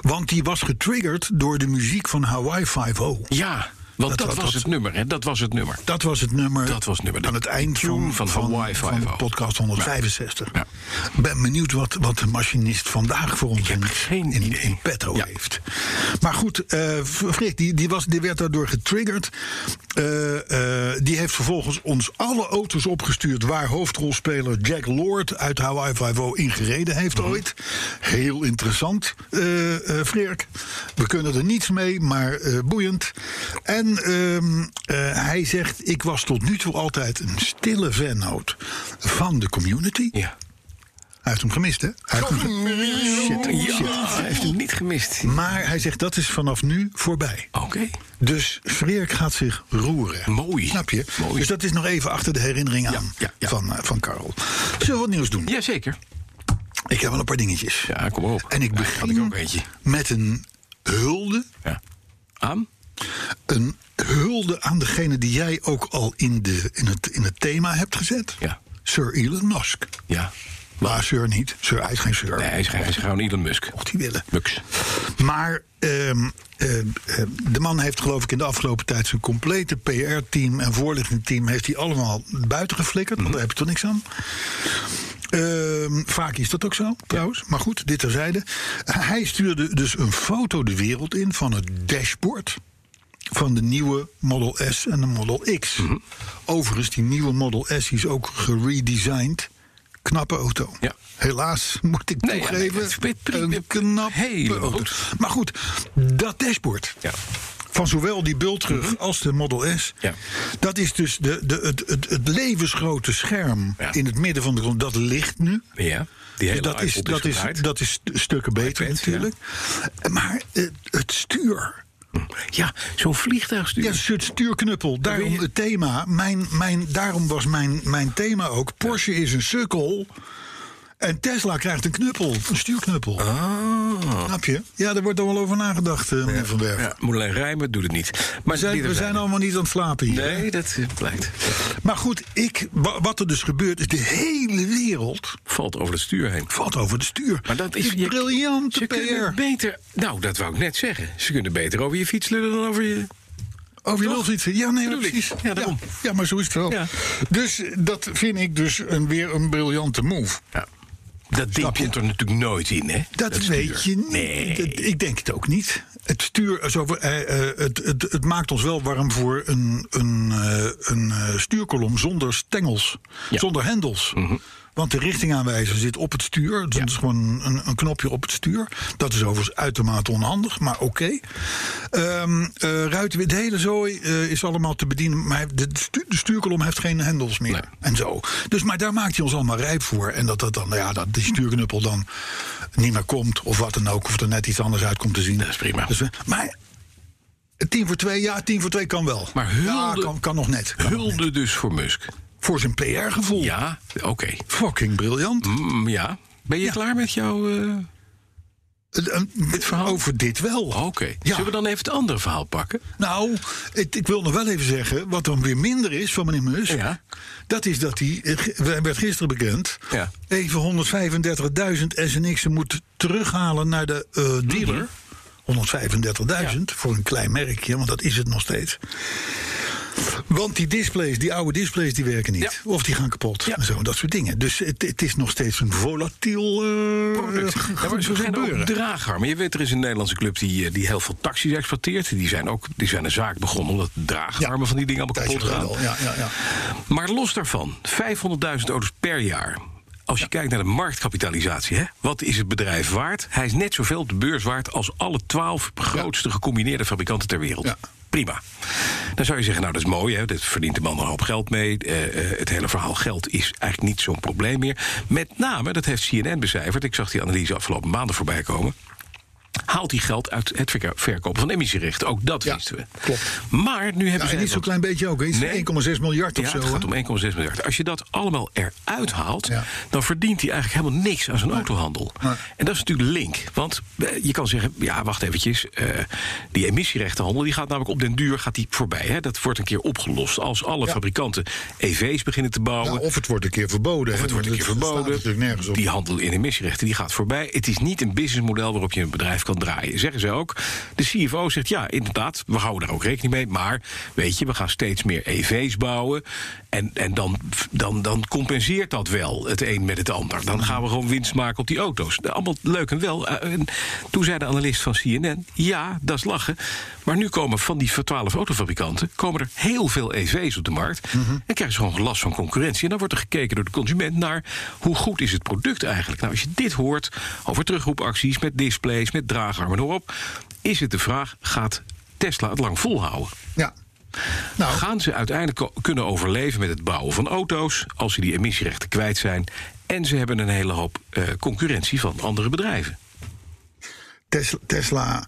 Want die was getriggerd door de muziek van Hawaii 5
Ja, want dat,
dat-
was
dat-
het nummer, hè? Dat was het nummer.
Dat was het nummer.
Dat was het nummer.
Aan
De
het eind
tune
van,
van Hawaii
van
Five-O.
podcast 165.
Ja.
Ben benieuwd wat, wat de machinist vandaag voor ons
heb
in,
geen
in,
idee.
in petto
Ja.
heeft. Maar goed, eh Frik, die, die, was, die werd daardoor getriggerd. Eh, eh, die heeft vervolgens ons alle auto's opgestuurd... waar hoofdrolspeler Jack Lord uit Hawaii Five-O ingereden heeft ooit. Heel interessant, eh eh, Frik. We kunnen er niets mee, maar eh, boeiend. En ehm, eh, hij zegt, ik was tot nu toe altijd een stille vennoot van de community.
Ja.
Hij heeft hem gemist, hè? Hij heeft hem ge- Shit,
Ja,
shit.
hij heeft hem niet gemist.
Maar hij zegt dat is vanaf nu voorbij.
Oké.
Dus Freerk gaat zich roeren.
Mooi.
Snap je?
Mooi.
Dus dat is nog even achter de herinnering aan
ja, ja.
Van, eh, van Karel. Zullen we wat nieuws doen?
Jazeker.
Ik heb wel een paar dingetjes.
Ja, kom maar op.
En ik
Ja,
begin
had ik ook eentje.
met een hulde.
Ja. Aan?
Een hulde aan degene die jij ook al in, de, in, het, in het thema hebt gezet.
Ja.
Sir Elon Musk.
Ja.
Maar Sir niet. Sir, hij is geen Sir.
Nee, hij is, ge- hij is gewoon Elon Musk.
Mocht hij willen.
Mux.
Maar ehm, ehm, ehm, de man heeft geloof ik in de afgelopen tijd zijn complete PR-team en voorlichtingteam heeft hij allemaal buiten geflikkerd, want daar heb je toch niks aan. Ehm, vaak is dat ook zo, trouwens. Maar goed, dit terzijde. Hij stuurde dus een foto de wereld in van het dashboard van de nieuwe Model S en de Model X.
Mhm.
Overigens, die nieuwe Model S is ook geredesigned. Knappe auto.
Ja.
Helaas moet ik
Nee, ja, nee,
toegeven.
dat is pri- pri- pri-
een knap
helemaal
auto.
goed.
Maar goed, dat dashboard.
Ja. Mhm.
Van zowel die bultrug als de Model S.
Ja.
Dat is dus de, de, het, het, het levensgrote scherm
Ja.
in het midden van de grond. Dat ligt nu.
Ja. Die hele
Dus dat, is,
iPod
dat, is,
gedraaid.
dat is st- stukken beter
iPad,
natuurlijk. Maar het, het stuur.
Hm. Ja, zo'n vliegtuigstuur.
Ja, het stuurknuppel. Daarom
je-
het thema. Mijn, mijn, daarom was mijn, mijn thema ook. Porsche is een sukkel. En Tesla krijgt een knuppel. Een stuurknuppel.
Oh.
Snap je? Ja, daar wordt dan wel over nagedacht, eh, meneer Van Berg.
Ah. Ja, Moulin Rijmen doet het niet. Maar
We zijn, we zijn allemaal niet aan het slapen hier.
Nee, dat eh, blijkt.
Maar goed, ik, wa- wat er dus gebeurt, is de hele wereld
Valt over het stuur heen.
valt over het stuur.
Maar dat is
Die briljante
ze kunnen
PR.
beter. Nou, dat wou ik net zeggen. Ze kunnen beter over je fiets lullen dan over je.
Over je
Toch?
lul iets. Ja, nee,
Bedoel ik.
precies.
Ja, daarom.
ja, maar zo is het wel.
Ja.
Dus dat vind ik dus een, weer een briljante move.
Ja. Dat ding
Snap je?
komt er natuurlijk nooit in, hè?
Dat, weet
stuur.
je niet.
Nee.
Dat- ik denk het ook niet. Het stuur, eh, zo, eh, eh, het, het, het maakt ons wel warm voor een, een, eh, een eh, stuurkolom zonder stengels,
Ja. Mhm.
zonder hendels. Want de richtingaanwijzer zit op het stuur. Dus Dat is gewoon een, een knopje op het stuur. Dat is overigens uitermate onhandig, maar oké. Ehm eh, ruiten, de hele zooi eh, is allemaal te bedienen. Maar de, stu- de stuurkolom heeft geen hendels meer.
Nee.
En zo. Dus, maar daar maakt hij ons allemaal rijp voor. En dat, dat, dan, nou ja, dat die stuurknuppel dan niet meer komt. Of wat dan ook. Of er net iets anders uit komt te zien. Dat
is prima.
maar tien voor twee, ja, tien voor twee kan wel.
Maar
Ja,
hulde-
kan, kan nog net. Kan nog net.
Hulde dus voor Musk.
Voor zijn PR-gevoel.
Ja, oké.
Fucking briljant.
Mm, ja. Ben je
Ja.
klaar met jouw. eh,
Eh, eh,
verhaal?
Over dit wel.
Oké.
Ja.
Zullen we dan even het andere verhaal pakken?
Nou, het- ik wil nog wel even zeggen, wat dan weer minder is van meneer Musk...
Ja.
dat is dat hij, eh, ge- werd gisteren bekend...
Ja.
even 135.000 SNX'en moet terughalen naar de eh, dealer. 135.000 voor een klein merkje, want dat is het nog steeds. Want die displays, die oude displays, die werken niet. Of die gaan kapot.
Ja.
En zo, dat soort dingen. Dus het, het is nog steeds een volatiel eh,
product.
ge-
Ja, maar zo zijn er ook
gebeuren.
draagarmen. Je weet, er is een Nederlandse club die, eh, die heel veel taxis exporteert. Die zijn ook die zijn een zaak begonnen omdat de draagarmen van die dingen allemaal
Tijdje
kapot gaan.
geleden al, Ja, ja, ja.
Maar los daarvan, 500.000 auto's per jaar. Als je kijkt naar de marktkapitalisatie, hè? wat is het bedrijf waard? Hij is net zoveel op de beurs waard als alle 12 grootste gecombineerde fabrikanten ter wereld.
Ja.
Prima. Dan zou je zeggen, nou dat is mooi, hè? dat verdient de man een hoop geld mee. Eh, eh, het hele verhaal geld is eigenlijk niet zo'n probleem meer. Met name, dat heeft CNN becijferd, ik zag die analyse afgelopen maanden voorbij komen haalt hij geld uit het verko- verkopen van emissierechten. Ook dat
Ja,
wisten we.
klopt.
Maar nu hebben
Nou,
ze...
en niet zo'n klein beetje ook. hè. Iets van
Nee.
1,6 miljard of
ja,
zo.
het
hè.
gaat om 1,6 miljard. Als je dat allemaal eruit haalt,
Ja.
dan verdient hij eigenlijk helemaal niks aan zijn autohandel.
Nee.
En dat is natuurlijk link. Want eh, je kan zeggen, ja, wacht eventjes. eh, die emissierechtenhandel die gaat namelijk op den duur gaat die voorbij. Hè? Dat wordt een keer opgelost. Als alle
Ja.
fabrikanten EV's beginnen te bouwen.
Nou, of het wordt een keer verboden.
Of
hè,
het wordt een
want
keer
staat natuurlijk
verboden.
nergens op.
Die handel in emissierechten die gaat voorbij. Het is niet een businessmodel waarop je een bedrijf kan draaien. Zeggen ze ook. De CFO zegt ja, inderdaad, we houden daar ook rekening mee. Maar weet je, we gaan steeds meer EV's bouwen. En, en dan, dan, dan compenseert dat wel het een met het ander. Dan gaan we gewoon winst maken op die auto's. Allemaal leuk en wel. Eh, En toen zei de analist van CNN: ja, dat is lachen. Maar nu komen van die 12 autofabrikanten komen er heel veel EV's op de markt. En krijgen ze gewoon last van concurrentie. En dan wordt er gekeken door de consument naar hoe goed is het product eigenlijk. Nou, als je dit hoort over terugroepacties met displays, met draagarmen, hoor op. Is het de vraag: gaat Tesla het lang volhouden?
Ja. Nou,
Gaan ze uiteindelijk ko- kunnen overleven met het bouwen van auto's als ze die emissierechten kwijt zijn? En ze hebben een hele hoop eh, concurrentie van andere bedrijven.
Tesla, Tesla,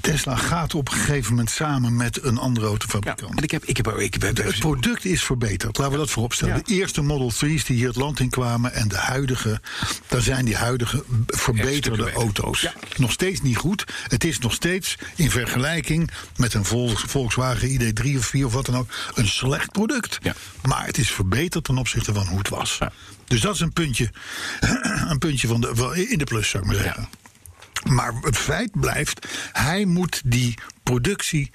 Tesla gaat op een gegeven moment samen met een andere
Ja,
autofabrikant.
en ik heb, ik heb, ik heb,
Het product is verbeterd, laten we dat vooropstellen.
Ja.
De eerste Model 3's die hier het land in kwamen en de huidige, daar zijn die huidige b-
Stukken
verbeterde
beter.
auto's.
Ja.
Nog steeds niet goed. Het is nog steeds in vergelijking met een Vol- Volkswagen ID3 of 4 of wat dan ook een slecht product.
Ja.
Maar het is verbeterd ten opzichte van hoe het was. Dus dat is een puntje, *clears throat* een puntje van de, van- in de plus, zou ik maar zeggen. Maar het feit blijft, hij moet die productie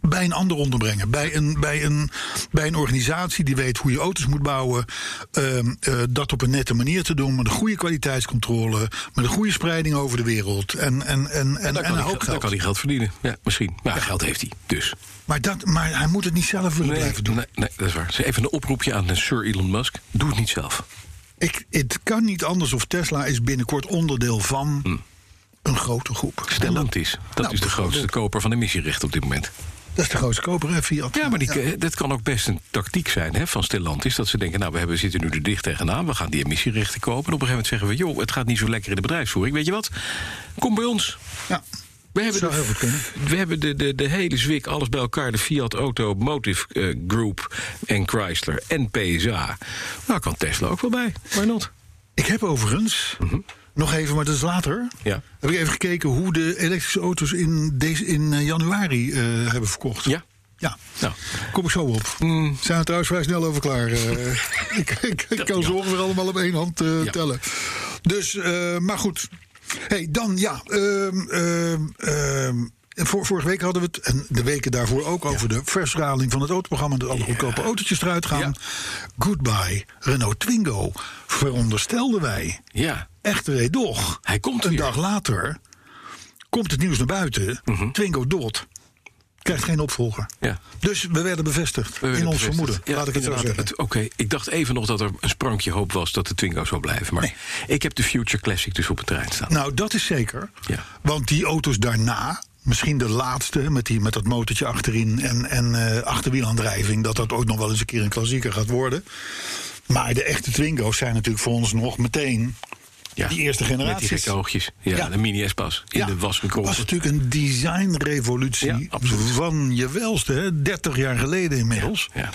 bij een ander onderbrengen. Bij een, bij een, bij een organisatie die weet hoe je auto's moet bouwen. ehm, eh, dat op een nette manier te doen. Met een goede kwaliteitscontrole. Met een goede spreiding over de wereld. En, en,
Dan
en, en, en
kan,
een
hij,
hoop
geld- dan kan
geld.
hij geld verdienen. Ja, misschien. Maar geld heeft hij. Dus.
Maar, dat, maar hij moet het niet zelf willen
Nee,
blijven doen.
nee, nee, dat is waar. Dus Even een oproepje aan eh, Sir Elon Musk. Doe het niet zelf.
Ik, het kan niet anders of Tesla is binnenkort onderdeel van
Hm.
een grote groep.
Stellantis. Dat
Nou,
is de
dat-
grootste koper van emissierechten op dit moment.
Dat is de grootste koper, hè, Fiat.
Ja, maar die, eh, dat kan ook best een tactiek zijn hè, van Stellantis. Dat ze denken, nou, we hebben, zitten nu er dicht tegenaan. We gaan die emissierechten kopen. En op een gegeven moment zeggen we... joh, het gaat niet zo lekker in de bedrijfsvoering. Weet je wat? Kom bij ons.
Ja.
We hebben,
Zou
de,
heel goed kunnen.
we hebben de, de, de hele zwik, alles bij elkaar. De Fiat Automotive eh, Group en Chrysler en PSA. Nou, kan Tesla ook wel bij. Why not?
Ik heb overigens, nog even, maar dat is later.
Mhm. Ja.
Heb ik even gekeken hoe de elektrische auto's in, deze, in eh, januari eh, hebben verkocht.
Ja.
Ja.
Nou.
Kom ik zo op.
Mm.
Zijn we trouwens vrij snel over klaar.
*laughs*
eh. ik ik, ik kan ze ongeveer allemaal op één hand eh,
Ja.
tellen. Dus, eh, maar goed. hey, dan ja. ehm, ehm, ehm, voor, vorige week hadden we het, en de weken daarvoor ook, over de versraling van het autoprogramma. Dat alle goedkope autootjes eruit gaan.
Ja.
Goodbye Renault Twingo, veronderstelden wij.
Ja.
Echter, hey, doch.
Hij komt
Een
weer.
dag later komt het nieuws naar buiten.
Mhm.
Twingo dood. Krijgt geen opvolger.
Ja.
Dus we werden bevestigd
We
in ons
werden bevestigd.
vermoeden.
Ja,
laat ik het zo
inderdaad.
zeggen.
Het- Oké, ik dacht even nog dat er een sprankje hoop was dat de Twingo zou blijven. Maar ik heb de Future Classic dus op het terrein staan.
Nou, dat is zeker.
Ja.
Want die auto's daarna, misschien de laatste met, die, met dat motortje achterin en, en eh, achterwielaandrijving, dat dat ook nog wel eens een keer een klassieker gaat worden. Maar de echte Twingo's zijn natuurlijk voor ons nog meteen
ja.
die eerste
Met die
generatie.
gekke oogjes. Ja,
Ja.
de mini S-Pas. In de was
was
gekrompen.
natuurlijk een designrevolutie
Ja, absoluut.
van je welste, hè? 30 jaar geleden inmiddels.
Ja.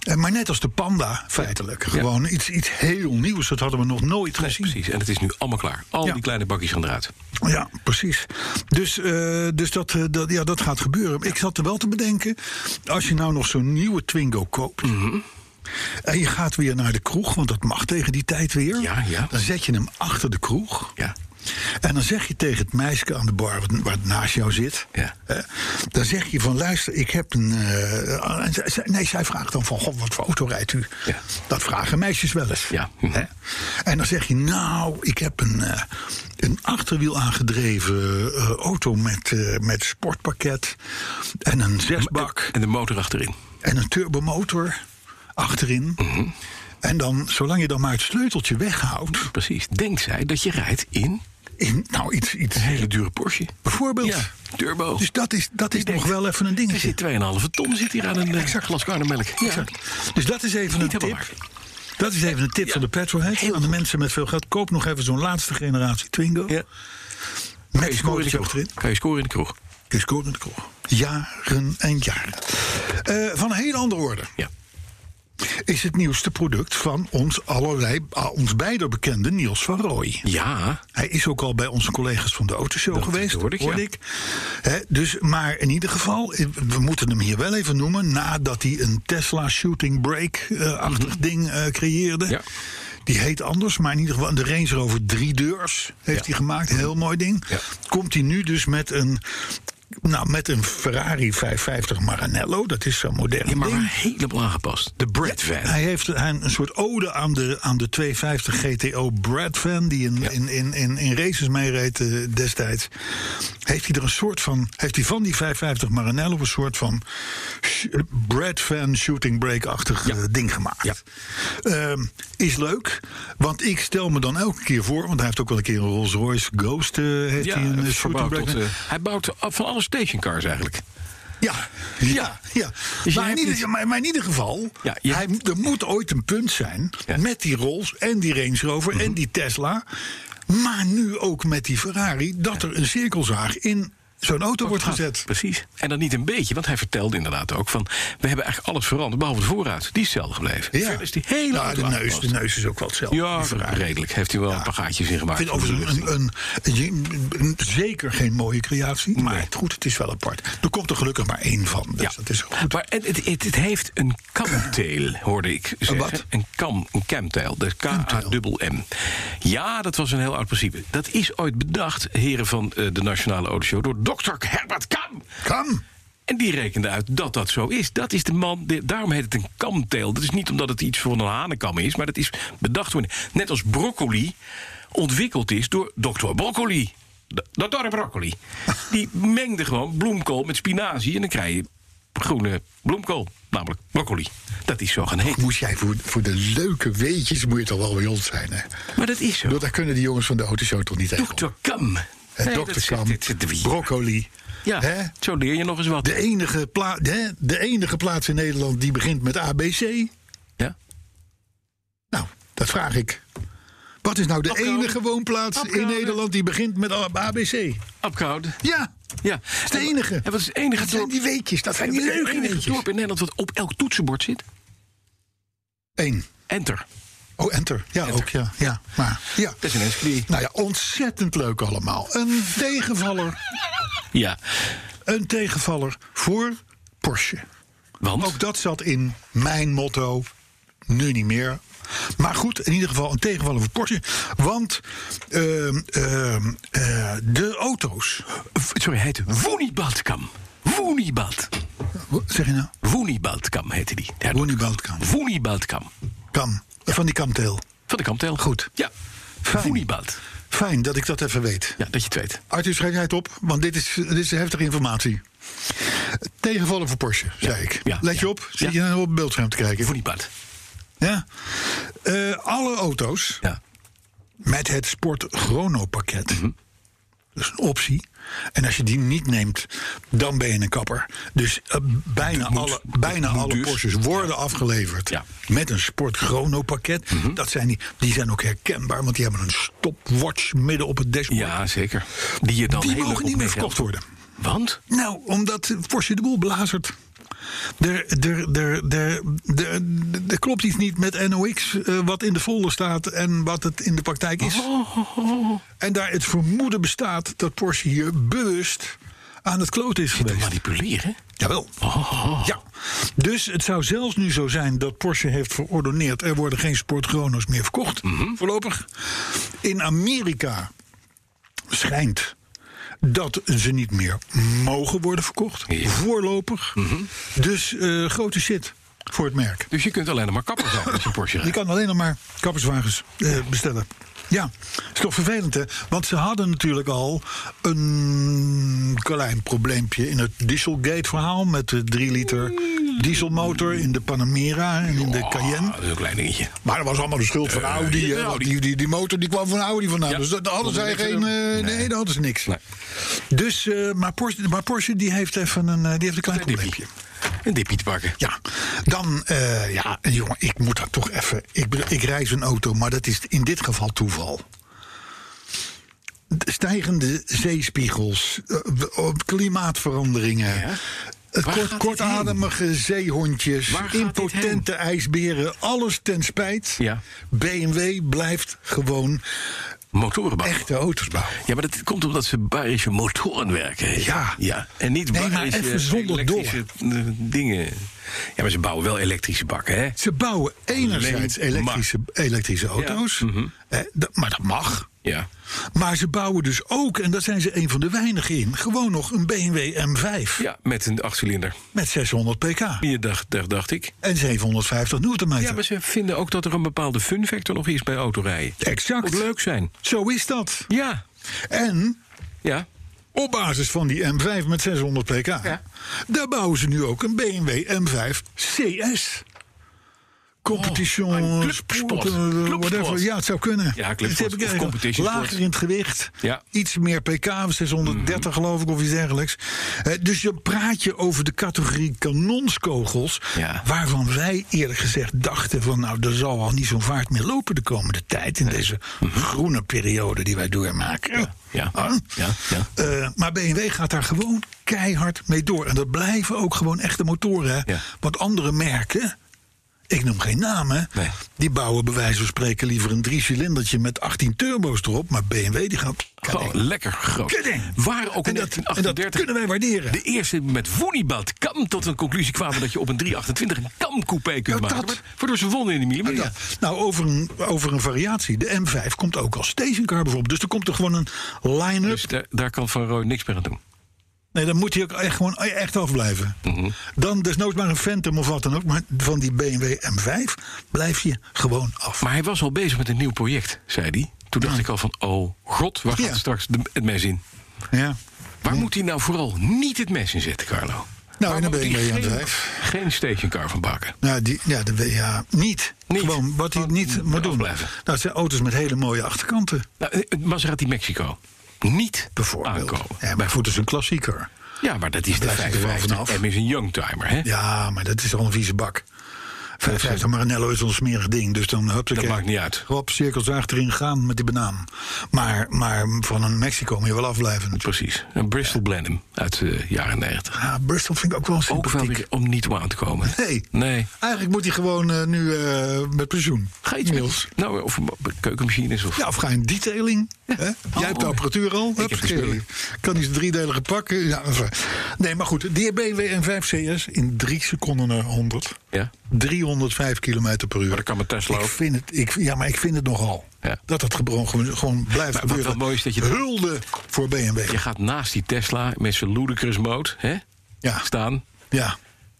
En Maar net als de Panda, feitelijk. Gewoon iets, iets heel nieuws, dat hadden we nog nooit
Nee,
gezien.
precies. En het is nu allemaal klaar. Al
Ja.
die kleine bakjes gaan eruit.
Ja, precies. Dus, eh, dus dat, eh, dat, ja, dat gaat gebeuren. Ik zat er wel te bedenken, als je nou nog zo'n nieuwe Twingo koopt...
Mhm.
en je gaat weer naar de kroeg, want dat mag tegen die tijd weer...
Ja, ja.
dan zet je hem achter de kroeg...
Ja.
En dan zeg je tegen het meisje aan de bar, wat- wat naast jou zit.
Ja.
hè, dan zeg je van, luister, ik heb een... eh, en zij- zij- nee, zij vraagt dan van, god, wat voor auto rijdt u?
Ja.
Dat vragen meisjes wel eens.
Ja.
Hè? En dan zeg je, nou, ik heb een, eh, een achterwiel aangedreven eh, auto met, eh, met sportpakket. En een zesbak.
En de motor achterin.
en een turbomotor achterin.
Mhm.
En dan, zolang je dan maar het sleuteltje weghoudt...
Precies. Denkt zij dat je rijdt in
In, nou, iets, iets
een hele dure Porsche?
bijvoorbeeld.
Ja, turbo.
Dus dat is, dat is
Die
nog
denkt,
wel even een
Er
dingetje.
zit 2,5 ton zit hier aan een eh, glas karne melk. Ja.
Exact. Dus dat is even een
Niet helemaal
tip. Dat is even een tip van de petrolhead. Aan de mensen met veel geld. Koop nog even zo'n laatste generatie Twingo.
Ja. Kan
Met
je scoren in de
smokertje
kroeg?
achterin.
Kan je scoren in de kroeg?
Kun je scoren in de kroeg. Jaren en jaren. Eh, van een hele andere orde
Ja.
is het nieuwste product van ons allerlei, ah, ons beider bekende Niels van Rooij.
Ja.
Hij is ook al bij onze collega's van de Autoshow geweest,
hoorde ik, ja.
Hè, dus, maar in ieder geval, eh, we moeten hem hier wel even noemen... nadat hij een Tesla Shooting Brake-achtig ding eh, creëerde.
Mhm. Ja.
Die heet anders, maar in ieder geval de Range Rover drie deurs heeft
Ja.
hij gemaakt. Heel mooi ding.
Ja.
Komt hij nu dus met een... Nou, met een Ferrari 550 Maranello, dat is zo'n modern
Ja, maar
ding.
helemaal aangepast. De bread van.
Hij heeft een, een soort ode aan de, aan de 250 GTO Brad van, die in, in, in, in, in races meereed eh, destijds. Heeft hij er een soort van, heeft hij van die 550 Maranello een soort van sh- Brad van shooting break-achtig eh, ding gemaakt.
Ja.
Ehm, is leuk, want ik stel me dan elke keer voor, want hij heeft ook wel een keer een Rolls Royce Ghost eh, heeft
Ja,
hij een
het
eh,
is
shooting
verbouwd
brake.
tot, eh, hij bouwt af van alle stationcars eigenlijk.
Ja, ja, ja.
Dus je
maar, in
hebt
ieder,
niet-
maar, maar in ieder geval,
Ja, je-
hij, er moet ooit een punt zijn
Ja. Mhm.
met die Rolls en die Range Rover en die Tesla. Maar nu ook met die Ferrari, dat er een cirkelzaag in zo'n auto wordt gezet.
Precies. En dan niet een beetje, want hij vertelde inderdaad ook van... we hebben eigenlijk alles veranderd, behalve de voorraad. Die is hetzelfde gebleven. Verder is die hele
ja,
auto
de, neus,
aangepast.
de neus is ook wel hetzelfde.
Ja,
die Ferrari.
redelijk. Heeft hij wel een paar gaatjes in
Ik
gemaakt.
vind overigens een, een, een- een- zeker geen mooie creatie. Maar het- goed, het is wel apart. Er komt er gelukkig maar één van. Dus
Ja.
dat is goed.
Maar het, het, het, het heeft een kamtail, hoorde ik zeggen.
wat?
Een kam, een camtail. De K-A-M-M. Ja, dat was een heel oud principe. Dat is ooit bedacht, heren van eh, de Nationale Autoshow... door dokter Herbert Kam.
Kan.
En die rekende uit dat dat zo is. Dat is de man, de- daarom heet het een kamteel. Dat is niet omdat het iets voor een hanenkam is, maar dat is bedacht worden. Net als broccoli ontwikkeld is door dokter Broccoli. D- Dr. Broccoli. Die mengde gewoon bloemkool met spinazie en dan krijg je groene bloemkool. Namelijk broccoli. Dat is zo gaan heten.
Moest jij voor, voor de leuke weetjes, moet je toch wel bij ons zijn, hè?
Maar dat is zo.
Want daar kunnen die jongens van de autoshow toch niet tegen. op.
Dr. Kam.
En
Nee,
Dr.
dat zit-
Eh, Kam,
dit zit er weer.
broccoli. Hè?
Ja, zo leer je nog eens wat.
De, enige pla- hè? de enige plaats in Nederland die begint met ABC.
Ja?
Nou, dat vraag ik. Wat is nou de
Opkomen.
enige woonplaats in
Opkomen.
Nederland die begint met A- ABC?
Abkoud.
Ja,
Ja.
de enige.
En wat is het enige
dat zijn
dorp-
die weetjes. Dat zijn die
Het
leuke
enige
weetjes.
dorp in Nederland wat op elk toetsenbord zit.
Eén.
Enter.
Oh, Enter. Ja,
Enter. Dus-
ook. Ja, ja. Maar, ja.
Dat is een Enschede.
Nou ja, ontzettend leuk allemaal. Een tegenvaller,
Ja.
een tegenvaller voor Porsche.
Want?
Ook dat zat in mijn motto. Nu niet meer. Maar goed, in ieder geval een tegenvaller voor Porsche. Want ehm, ehm, eh, de auto's.
v- Sorry, hij heette Woenibadkam. Woenibad.
Wat Zeg je nou?
Woenibadkam heette die. Ja,
Woenibaldkam.
Woenibadkam.
Kam. Van die kamteel.
Van de Kamtel.
Goed.
Ja.
Fijn.
Woenibad.
Fijn dat ik dat even weet.
Ja, dat je het weet.
Arthur, schrijf jij het op, want dit is, dit is heftige informatie. Tegenvallen voor Porsche, zei ik.
ja,
Let je
ja.
op, zit
Ja.
je nou op het beeldscherm te kijken.
Woenibad.
Ja. Eh, alle auto's
Ja.
met het Sport Chrono pakket.
Mhm.
Dat is een optie. En als je die niet neemt, dan ben je een kapper. Dus eh, bijna
moet.
alle,
Dat
bijna
moet
alle
dus.
Porsches worden afgeleverd
Ja. Mhm.
met een Sport Chrono pakket. Dat zijn die, die zijn ook herkenbaar, want die hebben een stopwatch midden op het dashboard.
Ja, zeker. Die je dan
die
heel erg
mogen niet meer
opmerkt.
verkocht worden.
Want?
Nou, omdat Porsche de boel blazert. Er, er, er, er, er, er klopt iets niet met NOx, eh, wat in de folder staat en wat het in de praktijk is. En daar het vermoeden bestaat dat Porsche hier bewust aan het kloten is
Te
geweest.
manipuleren.
Jawel. Ja. Dus het zou zelfs nu zo zijn dat Porsche heeft verordoneerd... er worden geen sportchrono's meer verkocht, voorlopig. In Amerika
schijnt dat ze niet meer mogen worden verkocht. Voorlopig. Dus eh, grote shit voor het merk.
Dus je kunt alleen nog maar
*laughs*
kapper zijn met zo'n Porsche.
Je
rijden.
kan alleen nog maar kapperswagens eh, bestellen. Ja, is toch vervelend hè? Want ze hadden natuurlijk al een klein probleempje in het Dieselgate-verhaal met de 3 liter dieselmotor in de Panamera en in de Cayenne.
Ah, dat is een klein dingetje.
Maar dat was allemaal de schuld van Audi.
ja,
hè, want
Audi.
Die, die, die motor die kwam van Audi vandaan.
Ja,
Dus dat, daar hadden zij
konden
geen.
niks
eh, nee.
doen. Nee.
dat hadden ze niks.
Nee.
Dus, eh, maar, Porsche, maar Porsche die heeft even een, eh, die heeft een klein
Een dippie.
probleempje.
Een dippie te pakken.
Ja, dan, eh, ja, jongen, ik moet dat toch even. Ik, bedoel, ik reis een auto, maar dat is in dit geval toeval. De Stijgende zeespiegels, eh, eh,
Ja.
klimaatveranderingen. eh,
Waar
Kort,
gaat dit
kortademige zeehondjes,
Waar gaat dit
impotente ijsberen, alles ten spijt.
Ja.
BMW blijft gewoon
Motoren bouwen.
echte auto's bouwen.
Ja, maar dat komt omdat ze barische motoren werken. hè?
Ja.
ja. En niet
Nee, maar
barische
even zonder
elektrische, eh, dingen. Ja, maar ze bouwen wel elektrische bakken, hè?
Ze bouwen enerzijds
Alleen maar. Mhm.
elektrische, elektrische auto's, eh, dat- maar dat mag.
Ja.
Maar ze bouwen dus ook, en daar zijn ze een van de weinigen in, gewoon nog een BMW M5
Ja, met een achtcilinder.
met 600 pk
Hier dacht, daar dacht ik.
en 750 newtonmeter.
Ja, maar ze vinden ook dat er een bepaalde fun factor nog is bij autorijden.
Exact.
Moet leuk zijn.
Zo is dat.
Ja.
En
Ja.
op basis van die M5 met 600 pk, daar bouwen ze nu ook een BMW M5 CS. Competition,
Oh, een clubsport.
sport, eh,
Clubsport.
whatever. Ja, het zou kunnen.
Ja, clubsport
Het heb ik
of
eigenlijk.
competition sport.
Lager in het gewicht.
Ja. Mm.
Iets meer pk, 630 geloof ik, of iets dergelijks. Eh, dus dan praat je over de categorie kanonskogels...
Ja.
waarvan wij eerlijk gezegd dachten van... nou, er zal al niet zo'n vaart meer lopen de komende tijd... in deze groene periode die wij doormaken.
Mhm. Ja.
Ah.
Ja, ja.
Eh, maar BMW gaat daar gewoon keihard mee door. En dat blijven ook gewoon echte motoren. hè.
Ja.
Want andere merken, ik noem geen namen,
Nee.
die bouwen bij wijze van spreken liever een drie-cilindertje met 18 turbo's erop. Maar BMW die gaat.
Gewoon
Kijk.
Oh, lekker groot.
Kidding.
Waar ook
En
in
dat- en dat
1938
kunnen wij waarderen.
de eerste met Woenibad kam tot een conclusie kwamen dat je op een 328 een kamcoupé kunt
Ja, dat-
maken. Maar- Waardoor ze wonnen in de
Maar
millimeter.
ja, Nou, over een, over een variatie. De M5 komt ook als stationcar bijvoorbeeld. Dus er komt er gewoon een line-up.
Dus daar, daar kan Van Rooij niks meer aan doen.
Nee, dan moet hij ook echt, gewoon echt afblijven.
Mhm.
Dan desnoods maar een Phantom of wat dan ook. Maar van die BMW M5 blijf je gewoon af.
Maar hij was al bezig met een nieuw project, zei hij. Toen dacht ik al van, oh god, waar gaat
Ja.
straks de- het mes in?
Ja.
Waar moet hij nou vooral niet het mes in zetten, Carlo?
Nou,
Waar
en
moet
dan ben je
hij
bij
geen,
M5.
geen stationcar van bakken.
Nou, die, ja, de, ja, niet.
Niet.
Gewoon wat hij
Gewoon
niet moet doen. Nou,
afblijven.
het zijn auto's met hele mooie achterkanten,
Nou, eh, Maserati Mexico. Niet
bijvoorbeeld.
aankomen.
Ja, maar goed, dat is een klassieker.
Ja, maar dat is de
Blijf je er wel
55.
vanaf.
M is een youngtimer, hè?
Ja, maar dat is al een vieze bak. 55 Maranello is een smerig ding, dus dan hup,
Dat maakt niet uit.
Hop, cirkels achterin gaan met die banaan. Maar, maar van een Mexico moet je wel afblijven.
Precies. Een Bristol Blenheim uit de jaren 90.
Ja, Bristol vind ik ook wel een
Ook wel
sympathiek.
weer om niet toe aan te komen.
Nee.
Nee.
Eigenlijk moet hij gewoon eh, nu eh, met pensioen.
Ga iets
Niels.
met... Nou, of keukenmachines of...
Ja, of ga in detailing. Hè? Jij hebt de apparatuur al.
Oh. heb de
Hup,
spullen.
kan hij zijn driedelige pakken. Ja, enfin. nee, maar goed. Die BMW M5 CS in drie seconden eh, naar 100.
Ja.
305 km per uur.
Maar dat kan met Tesla
ik
ook.
vind het, ik, Ja, maar ik vind het nogal.
Ja.
Dat dat gewoon, gewoon
Maar
blijft
wat
gebeuren.
wel mooi is dat je-
Hulde voor BMW.
Je gaat naast die Tesla met zijn ludicrous mode hè,
Ja.
staan.
Ja.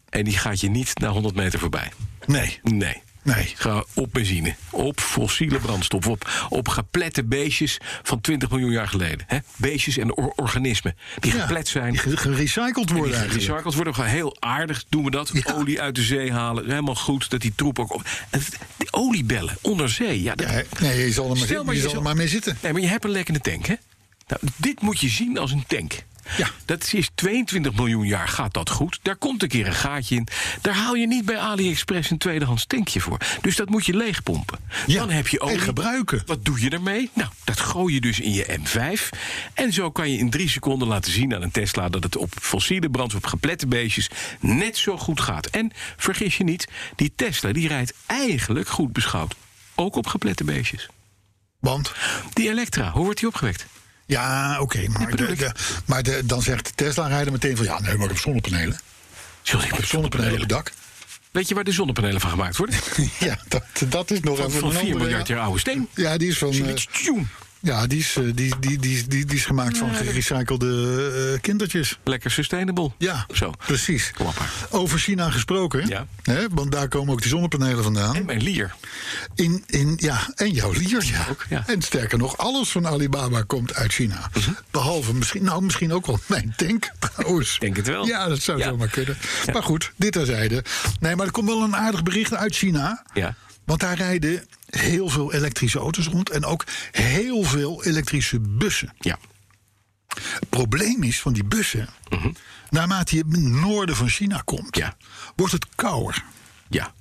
En die gaat je niet naar 100 meter voorbij.
Nee.
Nee.
Nee.
Ga op benzine, op fossiele brandstof, op, op geplette beestjes van 20 miljoen jaar geleden. Hè? Beestjes en or- organismen die
Ja.
geplet zijn.
Die ge- gerecycled worden
Die
eigenlijk.
gerecycled worden. Gewoon heel aardig doen we dat.
Ja.
Olie uit de zee halen. Helemaal goed dat die troep ook... Op... En Die oliebellen onder zee. Ja, dat-
Ja, nee, je zal er maar,
Stel
je zal er
zou-
maar mee zitten.
Nee, maar je hebt een lekkende tank, hè? Nou, dit moet je zien als een tank.
Ja.
Dat is 22 miljoen jaar gaat dat goed. Daar komt een keer een gaatje in. Daar haal je niet bij AliExpress een tweedehands tankje voor. Dus dat moet je leegpompen.
Ja,
Dan heb je
en
olie.
gebruiken.
Wat doe je ermee? Nou, dat gooi je dus in je M5. En zo kan je in drie seconden laten zien aan een Tesla... dat het op fossiele brandstof, op geplette beestjes... net zo goed gaat. En vergis je niet, die Tesla die rijdt eigenlijk goed beschouwd. Ook op geplette beestjes.
Want
Die Elektra, hoe wordt die opgewekt?
Ja, oké. maar de, de- maar de, dan zegt de Tesla-rijder meteen van... ja, nee, maar ik heb zonnepanelen.
Sorry, ik
Ik
heb
heb zonnepanelen op het
*laughs*
dak.
Weet je waar de zonnepanelen van gemaakt worden?
ja, dat, dat is nog
Van,
even
van
een
4
andere,
miljard
ja.
jaar oude steen.
Ja, die is van... eh,
Tjoen.
Ja, die is, eh, die, die, die, die, die is gemaakt van gerecyclede eh, kindertjes.
Lekker sustainable.
Ja,
Zo.
precies.
Klapper.
Over China gesproken,
Ja.
hè, want daar komen ook die zonnepanelen vandaan.
En mijn lier.
In, in, ja, en jouw lier, ja.
Ook, ja. Mhm.
En sterker nog, alles van Alibaba komt uit China. Behalve misschien, nou misschien ook wel mijn tank trouwens.
Denk het wel.
Ja, dat zou
Ja.
zomaar kunnen. Maar goed, dit terzijde. Nee, maar er komt wel een aardig bericht uit China.
Ja.
Want daar rijden heel veel elektrische auto's rond. En ook heel veel elektrische bussen.
Ja.
Het probleem is van die bussen... naarmate je in het noorden van China komt...
Mhm. Ja.
wordt het kouder.
Ja.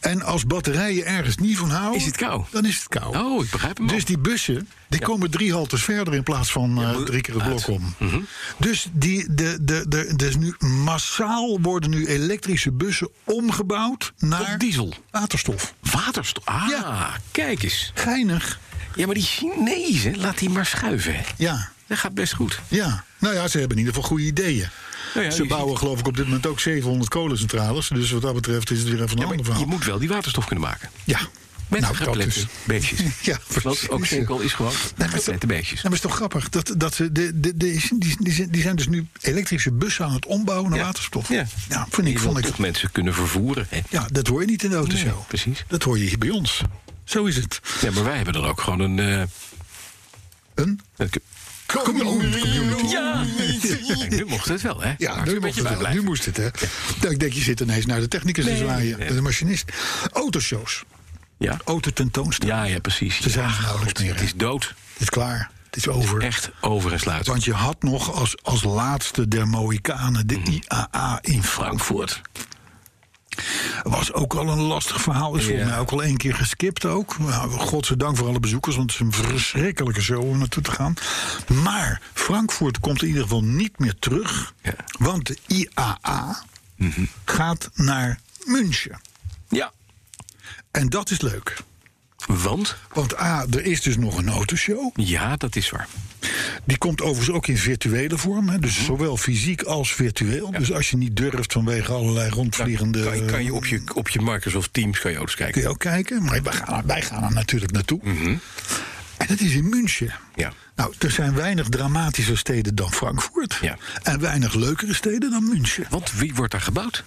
En als batterijen ergens niet van houden...
Is het kou?
Dan is het kou.
Oh, ik begrijp hem al.
Dus die bussen, die komen drie haltes verder in plaats van eh, drie keer het blok om.
Mhm.
Dus die, de, de, de, dus nu massaal worden nu elektrische bussen omgebouwd naar
Tot diesel.
waterstof.
Waterstof. Ah,
Ja.
kijk eens.
Geinig.
Ja, maar die Chinezen, laat die maar schuiven. hè.
Ja,
Dat gaat best goed.
ja. Nou ja, ze hebben in ieder geval goede ideeën.
Nou ja,
ze
je
bouwen geloof ik op dit moment ook 700 kolencentrales. Dus wat dat betreft is het weer even een
Ja, maar
ander verhaal.
je moet wel die waterstof kunnen maken.
Ja.
Met
Nou, dat
geplette
is-
beestjes.
*laughs* Ja,
Want ook
precies.
Sinkel is gewoon geplette beestjes.
Ja, maar is toch grappig dat, dat ze. De, de, de, die, die, zijn- die zijn dus nu elektrische bussen aan het ombouwen naar
Ja.
waterstof.
Ja.
vond
Je
ik. Vond
wilt
ik
toch mensen kunnen vervoeren. Hè?
ja, dat hoor je niet in de autoshow.
Nee, precies.
Dat hoor je hier bij ons. Zo is het.
Ja, maar wij hebben dan ook gewoon een... eh,
Een
een cu-
community.
ja, Nee, nu mocht het wel, hè?
Ja,
Laten we
nu,
een
mocht
beetje
het wel.
bij
nu
blijven.
moest het, hè? Nou, ik denk, je zit ineens naar de technicus te zwaaien.
nee.
De machinist. Autoshows.
Ja.
Autotentoonstellingen.
ja, ja, precies.
Ze zijn
Ja,
er nauwelijks
God,
meer,
Het
hè?
is dood.
Het is klaar. Het is over.
Echt over en sluiten.
Want je had nog als, als laatste der Mohikanen de
Mm-hmm.
IAA in Frankfurt. Was ook al een lastig verhaal. Is volgens
Ja.
mij ook al één keer geskipt ook. Nou, godzijdank voor alle bezoekers, want het is een verschrikkelijke show om naartoe te gaan. Maar Frankfurt komt in ieder geval niet meer terug.
Ja. Mhm.
Want de IAA gaat naar München.
Ja,
En dat is leuk.
want...
Want A, er is dus nog een autoshow.
Ja, dat is waar.
Die komt overigens ook in virtuele vorm. Hè?
Mhm.
Dus zowel fysiek als virtueel. Dus als je niet durft vanwege allerlei rondvliegende...
Kan je, kan je op je op je Microsoft Teams kan je ook eens
kun
kijken.
je ook kijken. Maar wij gaan, wij gaan er natuurlijk naartoe. En dat is in München.
Mhm. Ja.
Nou, er zijn weinig dramatischer steden dan Frankfurt.
Ja.
En weinig leukere steden dan München.
Want wie wordt daar gebouwd?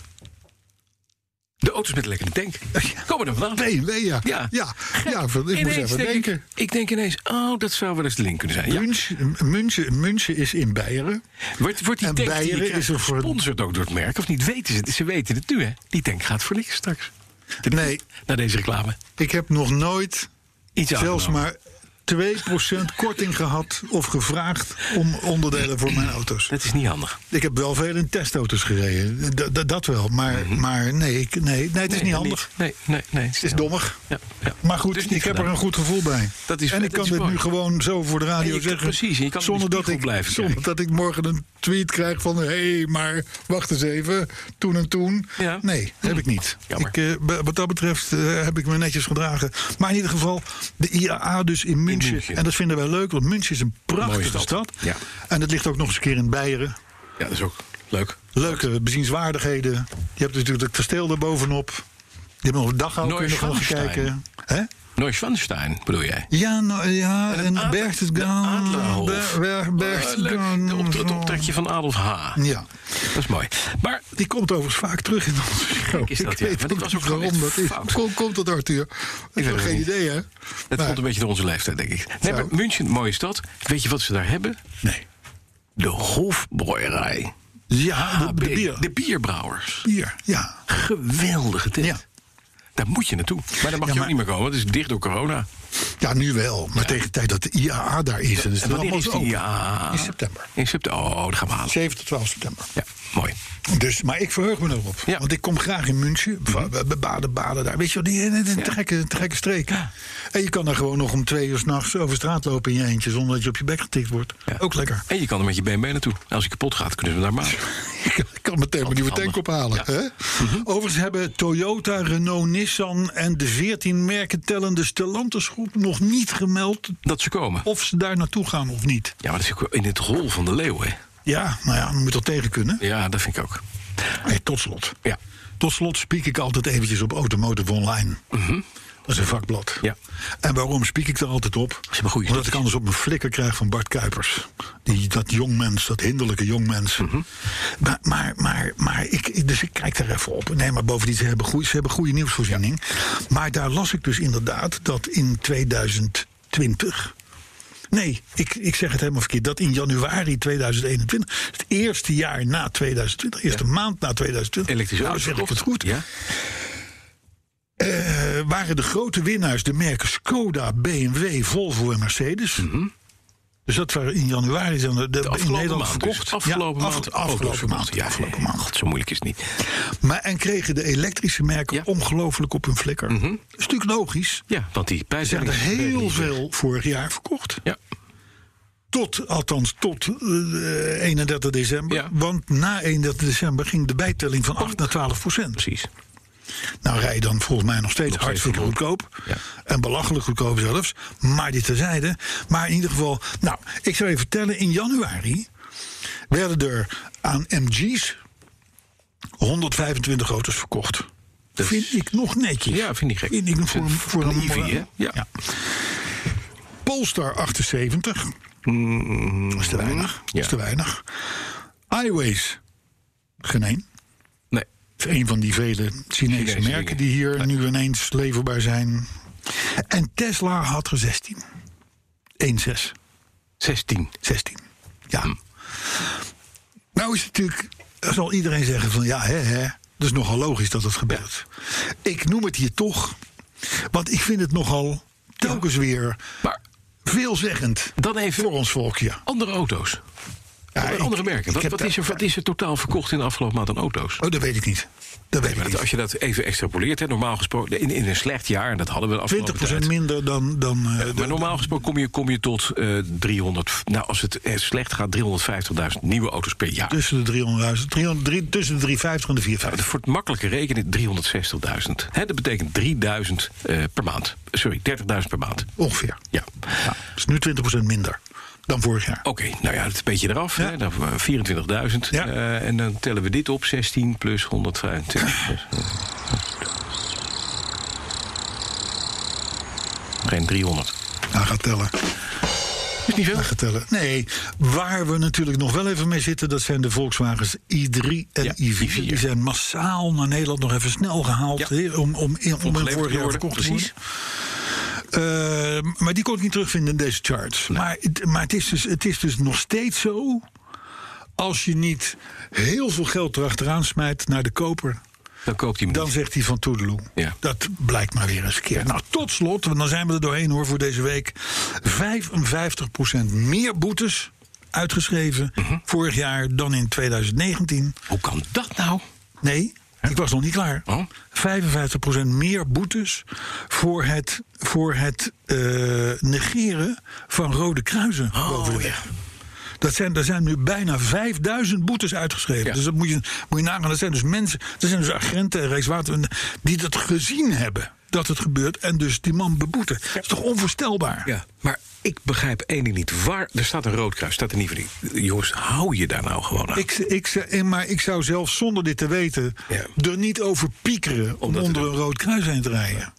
De auto's met lekkere tank.
*laughs*
Komen er vandaan.
BMW, ja.
Ja.
ja. ja, van- ik moest
Ineens
even
denk
denken.
Ik, ik denk ineens, oh, dat zou wel eens de link kunnen zijn. Ja.
München, München, München is in Beieren.
Wordt, wordt die tank
En
die je
Beieren
krijgt
is een ver-
gesponsord ook door het merk? Of niet? Weten ze, het? ze weten het nu, hè? Die tank gaat voor niks straks.
Nee,
Na deze reclame.
ik heb nog nooit
Iets
zelfs
aangenomen.
maar 2% korting gehad of gevraagd om onderdelen voor mijn auto's.
Dat is niet handig.
Ik heb wel veel in testauto's gereden. Dat- dat- dat wel. Maar, maar nee, ik, nee, nee, het is
Mhm. Nee,
niet handig.
Nee, nee, nee. Het
Het is dommig.
Ja, ja.
Maar goed,
Dus
ik
niet
heb er
gedaan.
een goed gevoel bij.
Dat is-
en ik
dat
kan
is
dit
mooi.
nu gewoon zo voor de radio
En je kan-
zeggen.
precies, en je kan in de
zonder dat ik,
spiegel blijven
Zonder
kijken.
dat ik morgen een tweet krijg van... hé, hey, maar wacht eens even, toen en toen.
Ja.
Nee, heb ik niet.
Jammer.
Ik, eh, be- wat dat betreft eh, heb ik me netjes gedragen. Maar in ieder geval, de IAA dus in München.
München.
En dat vinden wij leuk, want München is een prachtige
Mooie stad.
stad.
Ja.
En het ligt ook nog eens een keer in Beieren.
Ja, dat is ook leuk.
Leuke bezienswaardigheden. Je hebt natuurlijk het kasteel daarbovenop. Je hebt nog de daghouder kunnen gaan
Neuschwanstein.
kijken. Hè?
Neuschwanstein, bedoel jij?
Ja, nou, ja,
een
en
adel- de
Berchtesgaden.
Adlerhof.
Ber- Ber-
Eh, leuk.
Berchtesgaden.
De optre- Het optrekje van Adolf H.
Ja,
Dat is mooi. Maar
die komt overigens vaak terug in onze show.
is dat,
ik
ja.
weet
Maar dit was ook gewoon
waarom
echt
dat is.
fout.
Kom, komt dat, Arthur? Ik
weet
heb
het
geen
niet.
idee, hè?
dat
Maar-
komt een beetje door onze leeftijd, denk ik. Nee,
Zo.
maar München, mooie stad. Weet je wat ze daar hebben?
Nee.
De Hofbrouwerij.
Ja, Ah, de,
HB,
de bier.
De bierbrouwers.
bier, ja.
Geweldige tent.
Ja.
Daar moet je naartoe. Maar daar mag
Ja,
je
maar-
ook niet meer komen. want Het is dicht door corona.
Ja, nu wel. Maar tegen de tijd dat de IAA daar is. En is
En
het allemaal
wanneer is
zo
die?
open.
Ja.
In september.
In september. Oh, dat gaan we halen.
7 tot 12 september.
Ja, mooi.
Dus, maar ik verheug me erop.
Ja. Mhm.
Want ik kom graag in München. Ba- ba- Baden, baden daar. Weet je wel, die, het is een
Ja.
te gekke, te gekke streek. En je kan daar gewoon nog om twee uur s'nachts over straat lopen in je eentje... zonder dat je op je bek getikt wordt.
Ja.
Ook
*laughs*
lekker.
En je kan er met je BMW naartoe. En Als je kapot gaat, kunnen ze hem daar maken.
Ik kan meteen mijn nieuwe
handig.
tank ophalen.
Ja. Mhm.
Hè? Overigens hebben Toyota, Renault, Nissan... en de 14 merken tellende Stellantis groep nog niet gemeld...
Dat ze komen.
of ze daar naartoe gaan of niet.
Ja, maar dat is ook wel in het rol van de leeuw, hè?
Ja, nou ja, moet dat tegen kunnen.
Ja, dat vind ik ook.
Hey, tot slot.
Ja.
Tot slot spiek ik altijd eventjes op Automotive Online. Dat is een vakblad.
Ja.
En waarom spiek ik daar altijd op?
hebben goede
Omdat ik
studies.
anders op mijn flikker krijg van Bart Kuipers. Die, dat jongmens, dat hinderlijke jongmens. Maar, maar, maar, maar ik, ik- dus ik kijk daar even op. Nee, maar bovendien, ze hebben goede, ze hebben goede nieuwsvoorziening. Maar daar las ik dus inderdaad dat in 2020... Nee, ik, ik zeg het helemaal verkeerd. Dat in januari 2021, het eerste jaar na 2020, eerste maand na 2020.
Elektrische
nou,
auto's
zeg ik het
verkocht.
goed.
Ja.
Eh, waren de grote winnaars de merken Skoda, BMW, Volvo en Mercedes. Dus dat waren in januari zijn er de, in
Mhm. afgelopen
Nederland
maand dus.
verkocht.
Afgelopen
ja, af-
maand. auto's
afgelopen
verkocht.
maand.
Ja,
afgelopen maand.
God, zo moeilijk is het niet.
Maar, en kregen de elektrische merken
Ja. Mhm.
ongelooflijk op hun flikker. Dat is natuurlijk logisch.
Ja, want die
Er zijn
prijzen
er heel veel vorig jaar verkocht.
Ja,
Tot, althans, tot eh, 31 december.
Ja.
Want na 31 december ging de bijtelling van 8 naar 12 procent.
precies.
Nou, rij je dan volgens mij nog steeds
Nog steeds
hartstikke goedkoop.
Ja.
En belachelijk goedkoop zelfs. Maar dit terzijde. Maar in ieder geval, nou, ik zou je vertellen: in januari werden er aan MG's 125 auto's verkocht.
Dat
vind
is-
ik nog netjes.
Dus- Ja, vind ik gek.
Vind ik nog voor, een- voor
Een
een
EV, hè? Ja.
Polestar 78. Dat is te weinig. Dat is
Mm. Ja.
te weinig. Highways. Geen één.
Nee.
Het is een van die vele Chinese,
Chinese
merken
dingen.
die hier nu ineens leverbaar zijn. En Tesla had er 16. 1, 6.
16.
16. Ja.
Hm.
Nou is het natuurlijk, zal iedereen zeggen van ja, hè, hè. Dat is nogal logisch dat het gebeurt. Ik noem het hier toch, want ik vind het nogal telkens weer
Maar
veelzeggend
dan even
voor ons volkje.
andere auto's.
Ja, ik-
andere merken.
ik
Wat,
heb
wat
daar-
is er, wat is er totaal verkocht in de afgelopen maand aan auto's?
Oh, dat weet ik niet. Dat weet ik
Maar
niet.
dat- als je dat even extrapoleert, hè, normaal gesproken, in, in een slecht jaar, en dat hadden we de afgelopen
20%
tijd.
minder dan. dan eh,
Maar normaal gesproken kom je, kom je tot eh 300, nou als het eh, slecht gaat, 350.000 nieuwe auto's per jaar.
tussen de 300.000. 300, drie- tussen de 350 en de
Nou,
450.
voor het makkelijke rekenen 360.000. Hè, dat betekent 3000 eh, per maand. Sorry, 30.000 per maand.
Ongeveer.
Ja.
Ja, dus nu 20% minder dan vorig jaar.
Oké, nou ja, dat is een beetje eraf.
Ja.
hè, dan, eh, 24.000.
Ja.
Eh, en dan tellen we dit op, 16 plus 125. Dus, eh, Geen 300.
Hij gaat tellen.
Is niet veel.
Hij gaat tellen. Nee, waar we natuurlijk nog wel even mee zitten, dat zijn de Volkswagens i3 en
Ja,
i4.
i4.
Die zijn massaal naar Nederland nog even snel gehaald
Ja.
hè, om, om, om, om hun
Opgeleverd
vorig jaar
worden,
verkocht te
precies.
worden. Eh, maar die kon ik niet terugvinden in deze charts. Maar, het- maar het, is dus, het is dus nog steeds zo. Als je niet heel veel geld erachteraan smijt naar de koper,
Dan koopt hij hem
Dan
niet.
zegt hij van Toedeloe.
Ja.
Dat blijkt maar weer eens een keer. Nou, tot slot, want dan zijn we er doorheen hoor voor deze week. 55% meer boetes uitgeschreven
Mhm.
vorig jaar dan in 2019.
Hoe kan dat nou?
Nee, ik was nog niet klaar.
Oh.
55% meer boetes voor het, voor het eh, negeren van rode kruisen
Oh,
boven de weg. Dat zijn, er zijn nu bijna 5000 boetes uitgeschreven.
Ja.
Dus dat moet je, moet je nagaan. Dat zijn dus mensen, dat zijn dus agenten en Rijkswater die dat gezien hebben dat het gebeurt en dus die man beboeten. Dat is toch onvoorstelbaar?
Ja, maar ik begrijp één ding niet. Waar, er staat een rood kruis, staat er niet van die. Jongens, hou je daar nou gewoon aan?
Ik, ik, zou- eh, maar ik zou zelf zonder dit te weten
Ja.
er niet over piekeren om
dat te
onder
doen.
een rood kruis heen te rijden.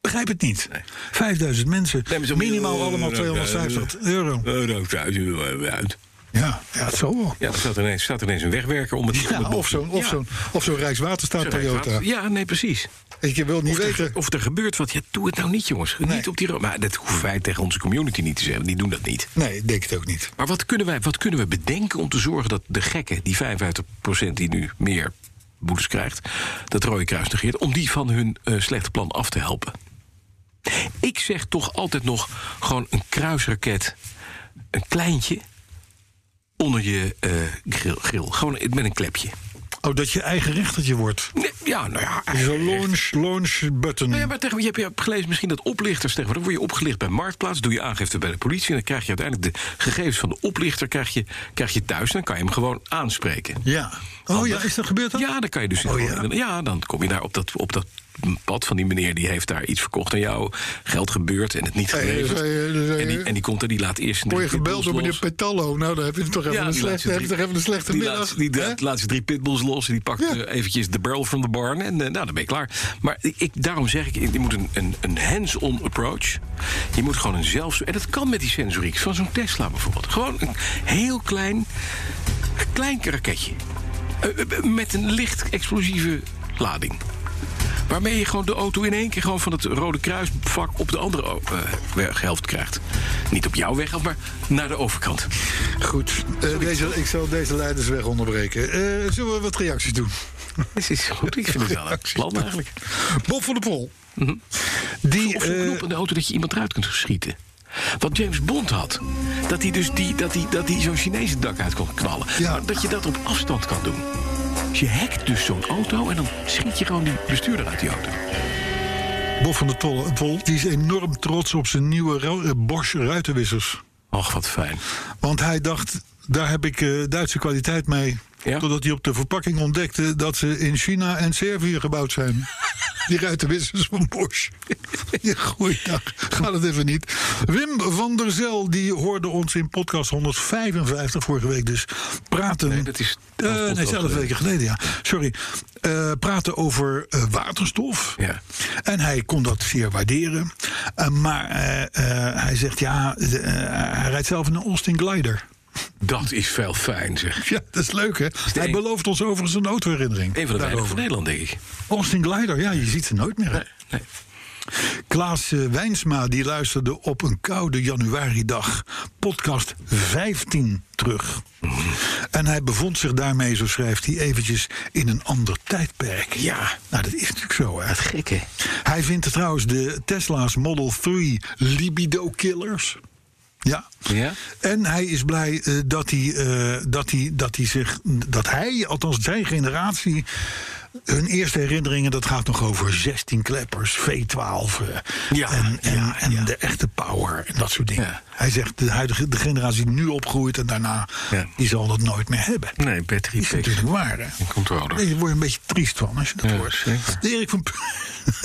Begrijp het niet. 5000 mensen,
Nee, maar zo-
minimaal
eh,
allemaal
eh,
250 euro.
Eh, rood kruis, eh, uit.
Ja, ja het zal wel.
Ja, er staat ineens, staat ineens een wegwerker om het om
Ja,
het
of zo'n of
Ja.
zo'n of zo'n Rijkswaterstaat
Zo'n
Toyota.
Rijkswater- Ja, nee, precies.
Ik je wil niet
Of er,
weten.
of er gebeurt wat. Ja, doe het nou niet, jongens. Niet op die ro- Maar dat hoeven wij tegen onze community niet te zeggen. Die doen dat niet.
Nee, ik denk het ook niet.
Maar wat kunnen, wij, wat kunnen we bedenken om te zorgen dat de gekken, die 55% die nu meer boetes krijgt, dat Rode Kruis negeert, om die van hun eh, slechte plan af te helpen? Ik zeg toch altijd nog gewoon een kruisraket, een kleintje, onder je eh, grill, grill. Gewoon met een klepje.
Oh, dat je eigen rechtertje wordt.
Nee, Ja, nou ja.
Zo'n launch, launch button.
Nou ja, maar tegen, je, hebt, je hebt gelezen misschien dat oplichters tegenwoordig... word je opgelicht bij Marktplaats, doe je aangifte bij de politie... en dan krijg je uiteindelijk de gegevens van de oplichter krijg je, krijg je thuis... en dan kan je hem gewoon aanspreken.
Ja. Oh ja, is dat gebeurd dan?
Ja, dan kan je dus...
Oh,
gewoon-
ja.
dan kom je daar op dat, op dat pad van die meneer... die heeft daar iets verkocht aan jou, geld gebeurd en het niet
Hey,
geleverd.
hey, hey, hey,
en, die,
hey.
en die komt er, die laat eerst... een
Word je
drie
gebeld door
pitbulls
meneer
los.
Petallo? Nou, dan heb je toch even,
Ja,
een,
die laat
slechte,
ze
heb je
drie-
toch even een slechte
die
middag.
laat- die
hè?
laat- laat ze drie pitbulls los en die pakt
Ja.
eh, eventjes de barrel from the Born. En eh, nou, dan ben je klaar. Maar ik, daarom zeg ik, je moet een, een, een hands-on approach. Je moet gewoon een zelf... En dat kan met die sensoriek, van zo'n Tesla bijvoorbeeld. Gewoon een heel klein, klein raketje. Eh, eh, Met een licht explosieve lading. Waarmee je gewoon de auto in één keer gewoon van het Rode Kruisvak op de andere o- eh, weghelft krijgt. Niet op jouw weghelft, maar naar de overkant.
Goed, eh, deze, ik zal deze leidersweg onderbreken. Eh, zullen we wat reacties doen?
Dit is goed, ik vind het wel een plan eigenlijk.
Bob van de Pol. Die,
Of zo'n
eh,
knop in de auto dat je iemand eruit kunt schieten. Wat James Bond had. Dat hij dus die, dat hij, dat hij zo'n Chinese dak uit kon knallen.
Ja.
Maar dat je dat op afstand kan doen. Dus je hackt dus zo'n auto en dan schiet je gewoon die bestuurder uit die auto.
Bob van de Tol, Pol, die is enorm trots op zijn nieuwe ru- eh, Bosch ruitenwissers.
Och, wat fijn.
Want hij dacht, daar heb ik eh, Duitse kwaliteit mee.
Ja.
Totdat hij op de verpakking ontdekte dat ze in China en Servië gebouwd zijn.
*laughs*
Die ruitenwissers van Bosch. *laughs* Ja, goeiedag. Gaat het even niet. Wim van der Zel, die hoorde ons in podcast 155 vorige week dus praten.
Nee, dat is-
Eh,
dat was
nee,
podcast
zelf
geleden.
weken geleden, ja. Sorry. Eh, praten over eh, waterstof.
Ja.
En hij kon dat zeer waarderen. Eh, maar eh, eh, hij zegt, ja, de, eh, hij rijdt zelf in een Austin Glider. *laughs*
Dat is veel fijn, zeg.
Ja, dat is leuk, hè?
de
Hij
een-
belooft ons overigens een autoherinnering.
Een van de weinigen van
daarover.
Nederland, denk ik.
Austin Glider, ja, je ziet ze nooit meer. hè?
Nee.
Klaas eh, Wijnsma, die luisterde op een koude januaridag podcast 15 terug. En hij bevond zich daarmee, zo schrijft hij, eventjes in een ander tijdperk.
Ja.
Nou, dat is natuurlijk zo, hè?
Gekke.
Hij vindt trouwens de Tesla's Model 3 libido-killers. Ja.
Ja?
En hij is blij eh, dat, hij, eh, dat, hij, dat hij zich. dat hij, althans zijn generatie. hun eerste herinneringen, dat gaat nog over 16 kleppers, V12. eh,
Ja,
en en,
ja,
en
ja.
de echte power en dat soort dingen.
Ja.
Hij zegt de huidige de generatie die nu opgroeit en daarna.
Ja.
die zal dat nooit meer hebben.
Nee, battery
Is natuurlijk waar, hè?
Een controller.
Nee, Daar word je een beetje triest van als je dat
Oh, Ja,
hoort.
zeker.
Erik
*laughs*
van.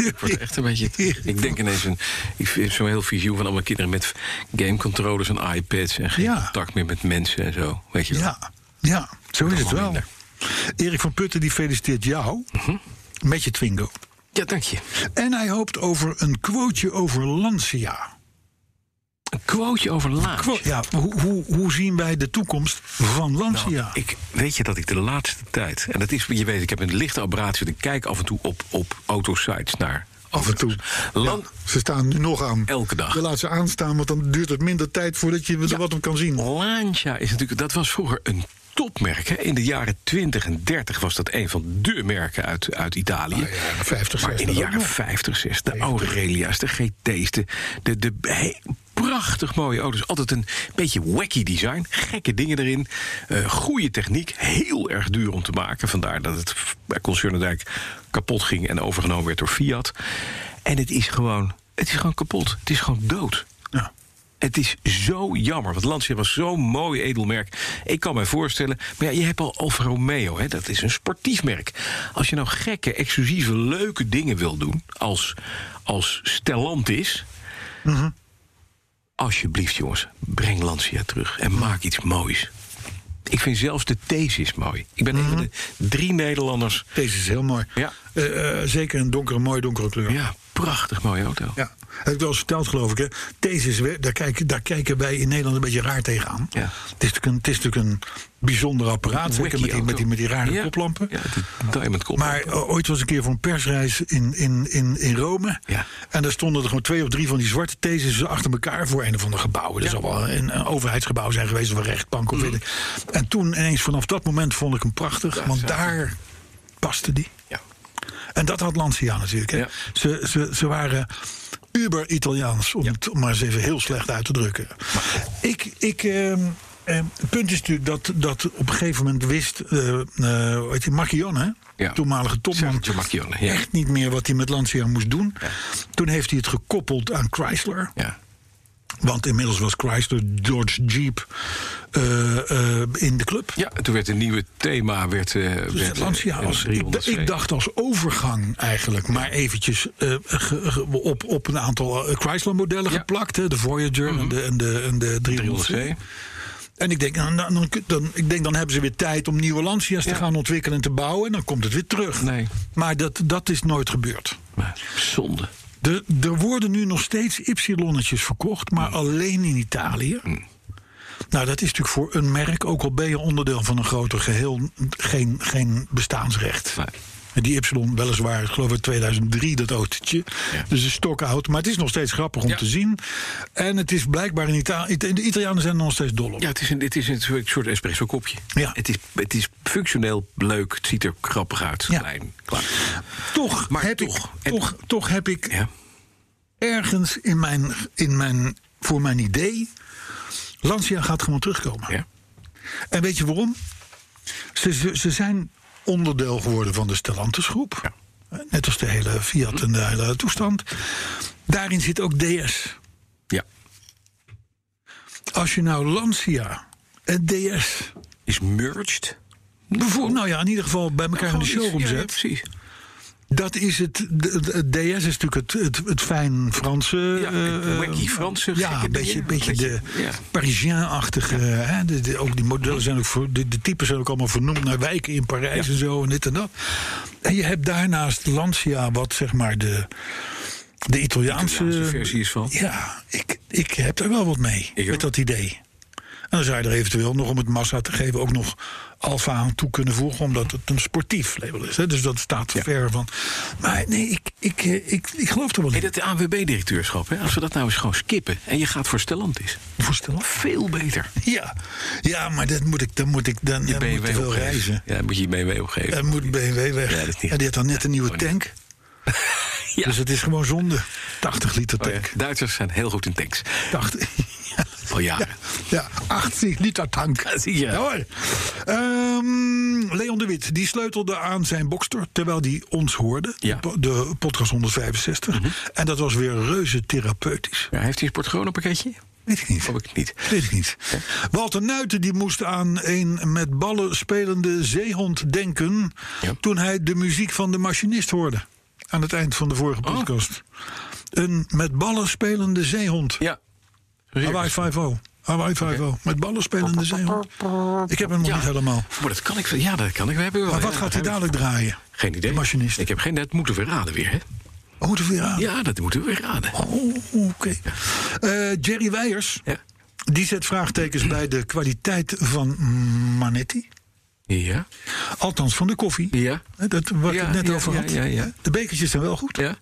Ik word echt een beetje. Ik denk ineens een, ik vind zo'n heel visioen van allemaal kinderen met gamecontrollers en iPads en geen
Ja.
contact meer met mensen en zo. Weet je wel?
Ja, ja zo is het
wel
wel.
minder. Mhm.
Erik van Putten die feliciteert jou met je Twingo.
Ja, dank je.
En hij hoopt over een quoteje over Lancia.
Een quoteje over laag.
Quo- ja, hoe, hoe, hoe zien wij de toekomst van Lancia?
Nou, Ik weet je dat ik de laatste tijd. En dat is, je weet, ik heb een lichte aberratie. want Ik kijk af en toe op, op autosites naar.
Af en toe.
Land,
Ja, Nou, ze staan nu nog aan.
Elke dag.
Je laat ze aanstaan, want dan duurt het minder tijd voordat je er
Ja.
wat op kan zien.
Lancia is natuurlijk, dat was vroeger een topmerk. Hè? In de jaren 20 en 30 was dat een van de merken uit, uit Italië.
Nou ja, 50,
maar in de
60 ook
jaren
nog.
50, 60, de Aurelia's, de GT's, de, de, de he- prachtig mooie auto's. Altijd een beetje wacky design, gekke dingen erin. eh, goede techniek, heel erg duur om te maken. Vandaar dat het bij Concernendijk kapot ging en overgenomen werd door Fiat. En het is gewoon, het is gewoon kapot. Het is gewoon dood.
Ja.
Het is zo jammer, want Lancia was zo'n mooi edelmerk. Ik kan me voorstellen, maar ja, je hebt al Alfa Romeo, hè? dat is een sportief merk. Als je nou gekke, exclusieve, leuke dingen wil doen, als, als Stellantis...
Mhm.
Alsjeblieft, jongens, breng Lancia terug en maak iets moois. Ik vind zelfs de thesis mooi. Ik ben een
Mhm.
van de drie Nederlanders...
Deze is heel mooi.
Ja.
Eh, eh, zeker een donkere, mooi donkere kleur.
Ja, prachtig mooie auto.
Ja, heb ik wel eens verteld, geloof ik. Hè. Deze is weer, daar, kijken, daar kijken wij in Nederland een beetje raar tegenaan.
Ja.
Het, is natuurlijk een, het is natuurlijk een bijzonder apparaat. Zeker
Wacky
met die, met, die,
auto.
met die rare
Ja,
koplampen.
Ja, die diamond koplampen.
Maar o- ooit was een keer voor een persreis in, in, in, in Rome.
Ja.
En daar stonden er gewoon twee of drie van die zwarte theses achter elkaar voor een of ander gebouw. Dat zal wel een, een overheidsgebouw zijn geweest of een rechtbank
Mm.
of weet ik. En toen ineens vanaf dat moment vond ik hem prachtig. want daar paste die.
ja.
En dat had Lancia natuurlijk. Hè?
Ja.
Ze, ze, ze waren uber Italiaans, om het maar eens even heel slecht uit te drukken. Ik, ik, ehm, ehm, het punt is natuurlijk dat, dat op een gegeven moment wist eh eh, hoe heet die, Marchionne, hè?
Ja.
toenmalige topman,
Sergio Marchionne, ja.
echt niet meer wat hij met Lancia moest doen. Toen heeft hij het gekoppeld aan Chrysler.
ja.
Want inmiddels was Chrysler George Jeep eh, eh, in de club.
Ja, en toen werd een nieuwe thema. Werd, eh,
Dus
werd, eh,
Lancia
een
als, ik,
300
ik dacht als overgang eigenlijk, maar eventjes eh, ge- ge- op, op een aantal eh, Chrysler-modellen
Ja. Mhm.
geplakt. Hè, de Voyager en de, en de, en de 300C.
300C.
En ik denk, nou, nou, dan, dan, ik denk, dan hebben ze weer tijd om nieuwe Lancia's
Ja.
te gaan ontwikkelen en te bouwen. En dan komt het weer terug.
Nee.
Maar dat, dat is nooit gebeurd.
Maar zonde.
De, er worden nu nog steeds Y-onnetjes verkocht, maar
Mm.
alleen in Italië. Nou, dat is natuurlijk voor een merk, ook al ben je onderdeel van een groter geheel, geen, geen bestaansrecht.
Nee.
En Die Y weliswaar, ik geloof uit 2003 dat autootje. Dus een stokoud. Maar het is nog steeds grappig om
Ja.
te zien. En het is blijkbaar in Italië... De Italianen zijn er nog steeds dol op.
Ja, het is een, het is een soort, soort espresso kopje.
Ja.
Het, is, het is functioneel leuk. Het ziet er grappig uit.
Ja.
Klein, klaar.
Toch,
Maar
heb
toch,
ik,
en-
toch, toch heb ik
Ja.
ergens in mijn, in mijn, voor mijn idee... Lancia gaat gewoon terugkomen.
Ja.
En weet je waarom? Ze, ze, ze zijn onderdeel geworden van de Stellantis groep. Net als de hele Fiat en de hele toestand. Daarin zit ook DS.
ja.
Als je nou Lancia en DS...
Is merged.
Bijvoorbeeld, nou ja, in ieder geval bij elkaar in de
Gewoon iets-
showroom
ja, ja,
zet.
precies.
Dat is het. de- de- Het DS is natuurlijk het, het, het fijn Franse.
Ja, het
eh,
wacky Franse
Ja,
gekke
een beetje,
dingen.
beetje de
Ja.
Parisien-achtige. hè, de- de- Ook die modellen zijn ook voor. De, de types zijn ook allemaal vernoemd naar wijken in Parijs en zo en dit en dat. En je hebt daarnaast Lancia, wat zeg maar de, de Italiaanse.
Italiaanse versie is van.
Dus, eh, Ja, ik, ik heb er wel wat mee.
Ik ook.
met dat idee. En dan zou je er eventueel nog om het massa te geven ook nog alfa aan toe kunnen voegen, omdat het een sportief label is. Hè? Dus dat staat ver van. Maar nee, ik, ik, eh, ik, ik, geloof er wel
Hey,
in.
dat ANWB-directeurschap, hè, als we dat nou eens gewoon skippen... en je gaat voor Stellantis,
Voorstel.
veel beter.
Ja. ja, maar dat moet ik, dan moet ik dan, dan moet ik te veel
opgeven.
reizen.
Ja, dan moet je je BMW opgeven.
Dan moet BMW weg.
Ja, dat is niet-
en die had dan net een nieuwe tank.
*laughs* Ja.
Dus het is gewoon zonde. 80 liter
Oh ja,
tank.
Duitsers zijn heel goed in tanks.
80.
Al jaren.
Ja, 80 liter tank.
Ja, zie je.
Ja hoor. Ehm, Leon de Wit, die sleutelde aan zijn Boxster... terwijl die ons hoorde,
Ja. Mhm.
de, de podcast 165. En dat was weer reuze therapeutisch.
Ja, heeft hij een Sport-Corona-pakketje?
Weet ik niet.
Hoop ik niet.
Weet ik niet. Walter Nuiten die moest aan een met ballen spelende zeehond denken...
Ja.
toen hij de muziek van de machinist hoorde. Aan het eind van de vorige
Oh.
podcast. Een met ballen spelende zeehond.
Ja.
Hawaii 5-0. Hawaii 5-0. Met ballen spelende zeehond. Ik heb hem nog
Ja.
niet helemaal.
Maar dat kan ik wel. Ja, dat kan ik. We hebben wel.
Maar wat
Ja,
gaat hij
dat hebben
dadelijk draaien?
we- Geen idee.
De machinist.
Ik heb geen... Dat moeten we raden weer, hè?
Oh, moeten we weer aan?
Ja, dat moeten we weer raden.
Oh, oké. Eh, Jerry Weijers.
Ja.
Die zet vraagtekens bij de kwaliteit van Manetti.
Ja.
Althans, van de koffie.
Ja.
Hè, Dat waar
Ja,
ik het net
ja,
over
ja,
had.
ja, ja.
De bekertjes zijn wel goed.
Ja.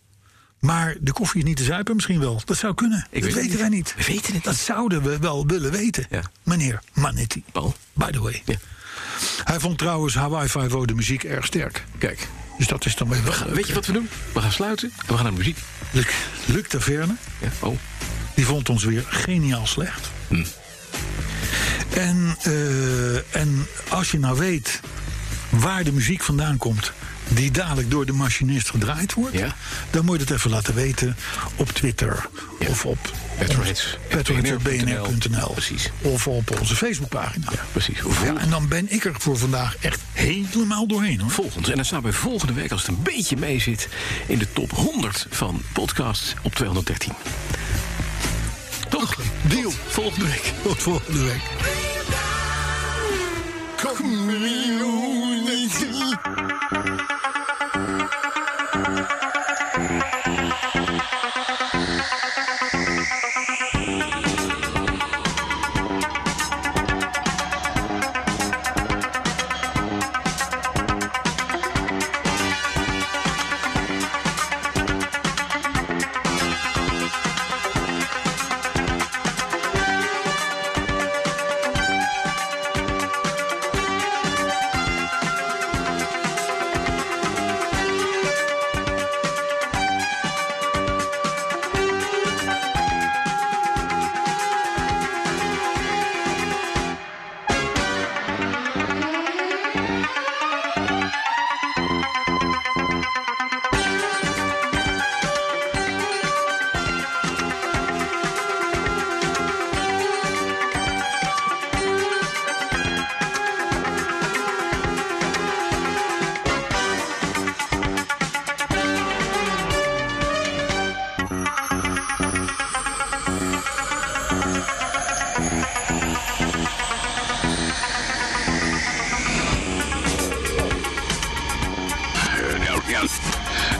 Maar de koffie is niet te zuipen misschien wel. Dat zou kunnen.
Ik weet
dat
het
weten
niet.
wij niet.
We weten het
dat
niet.
zouden we wel willen weten.
Ja.
Meneer Manetti.
Paul.
By the way.
Ja.
Hij vond trouwens Hawaii 5 de muziek erg sterk.
Kijk.
Dus dat is dan weer wel leuk,
Weet je
hè.
wat we doen? We gaan sluiten en we gaan naar muziek.
Luc, Luc Taverne,
Ja. Oh.
die vond ons weer geniaal slecht.
Hm.
En, eh, en als je nou weet waar de muziek vandaan komt... die dadelijk door de machinist gedraaid wordt...
Ja.
dan moet je het even laten weten op Twitter
Ja.
of op...
Petroheads.
petroheads.bnr.nl
Precies.
of op onze Facebookpagina.
Ja, precies.
Ja, en dan ben ik er voor vandaag echt helemaal doorheen. Hoor.
Volgens. En dan staan we volgende week, als het een beetje mee zit, in de top 100 van podcasts op 213. Toch?
deal.
Tot Volgende week.
Tot volgende week.
Community.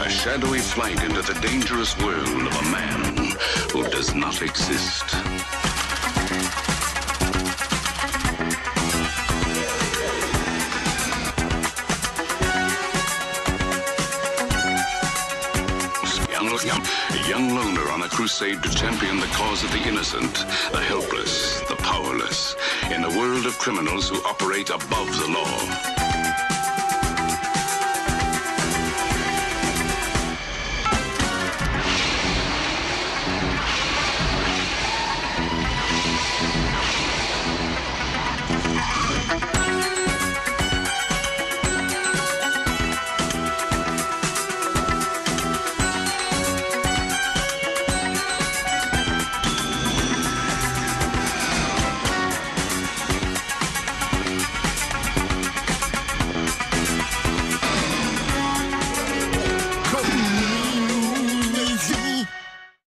shadowy flight into the dangerous world of a man who does not exist. Young, young, a young loner on a crusade to champion the cause of the innocent, the helpless, the powerless, in a world of criminals who operate above the law.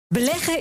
Beleggen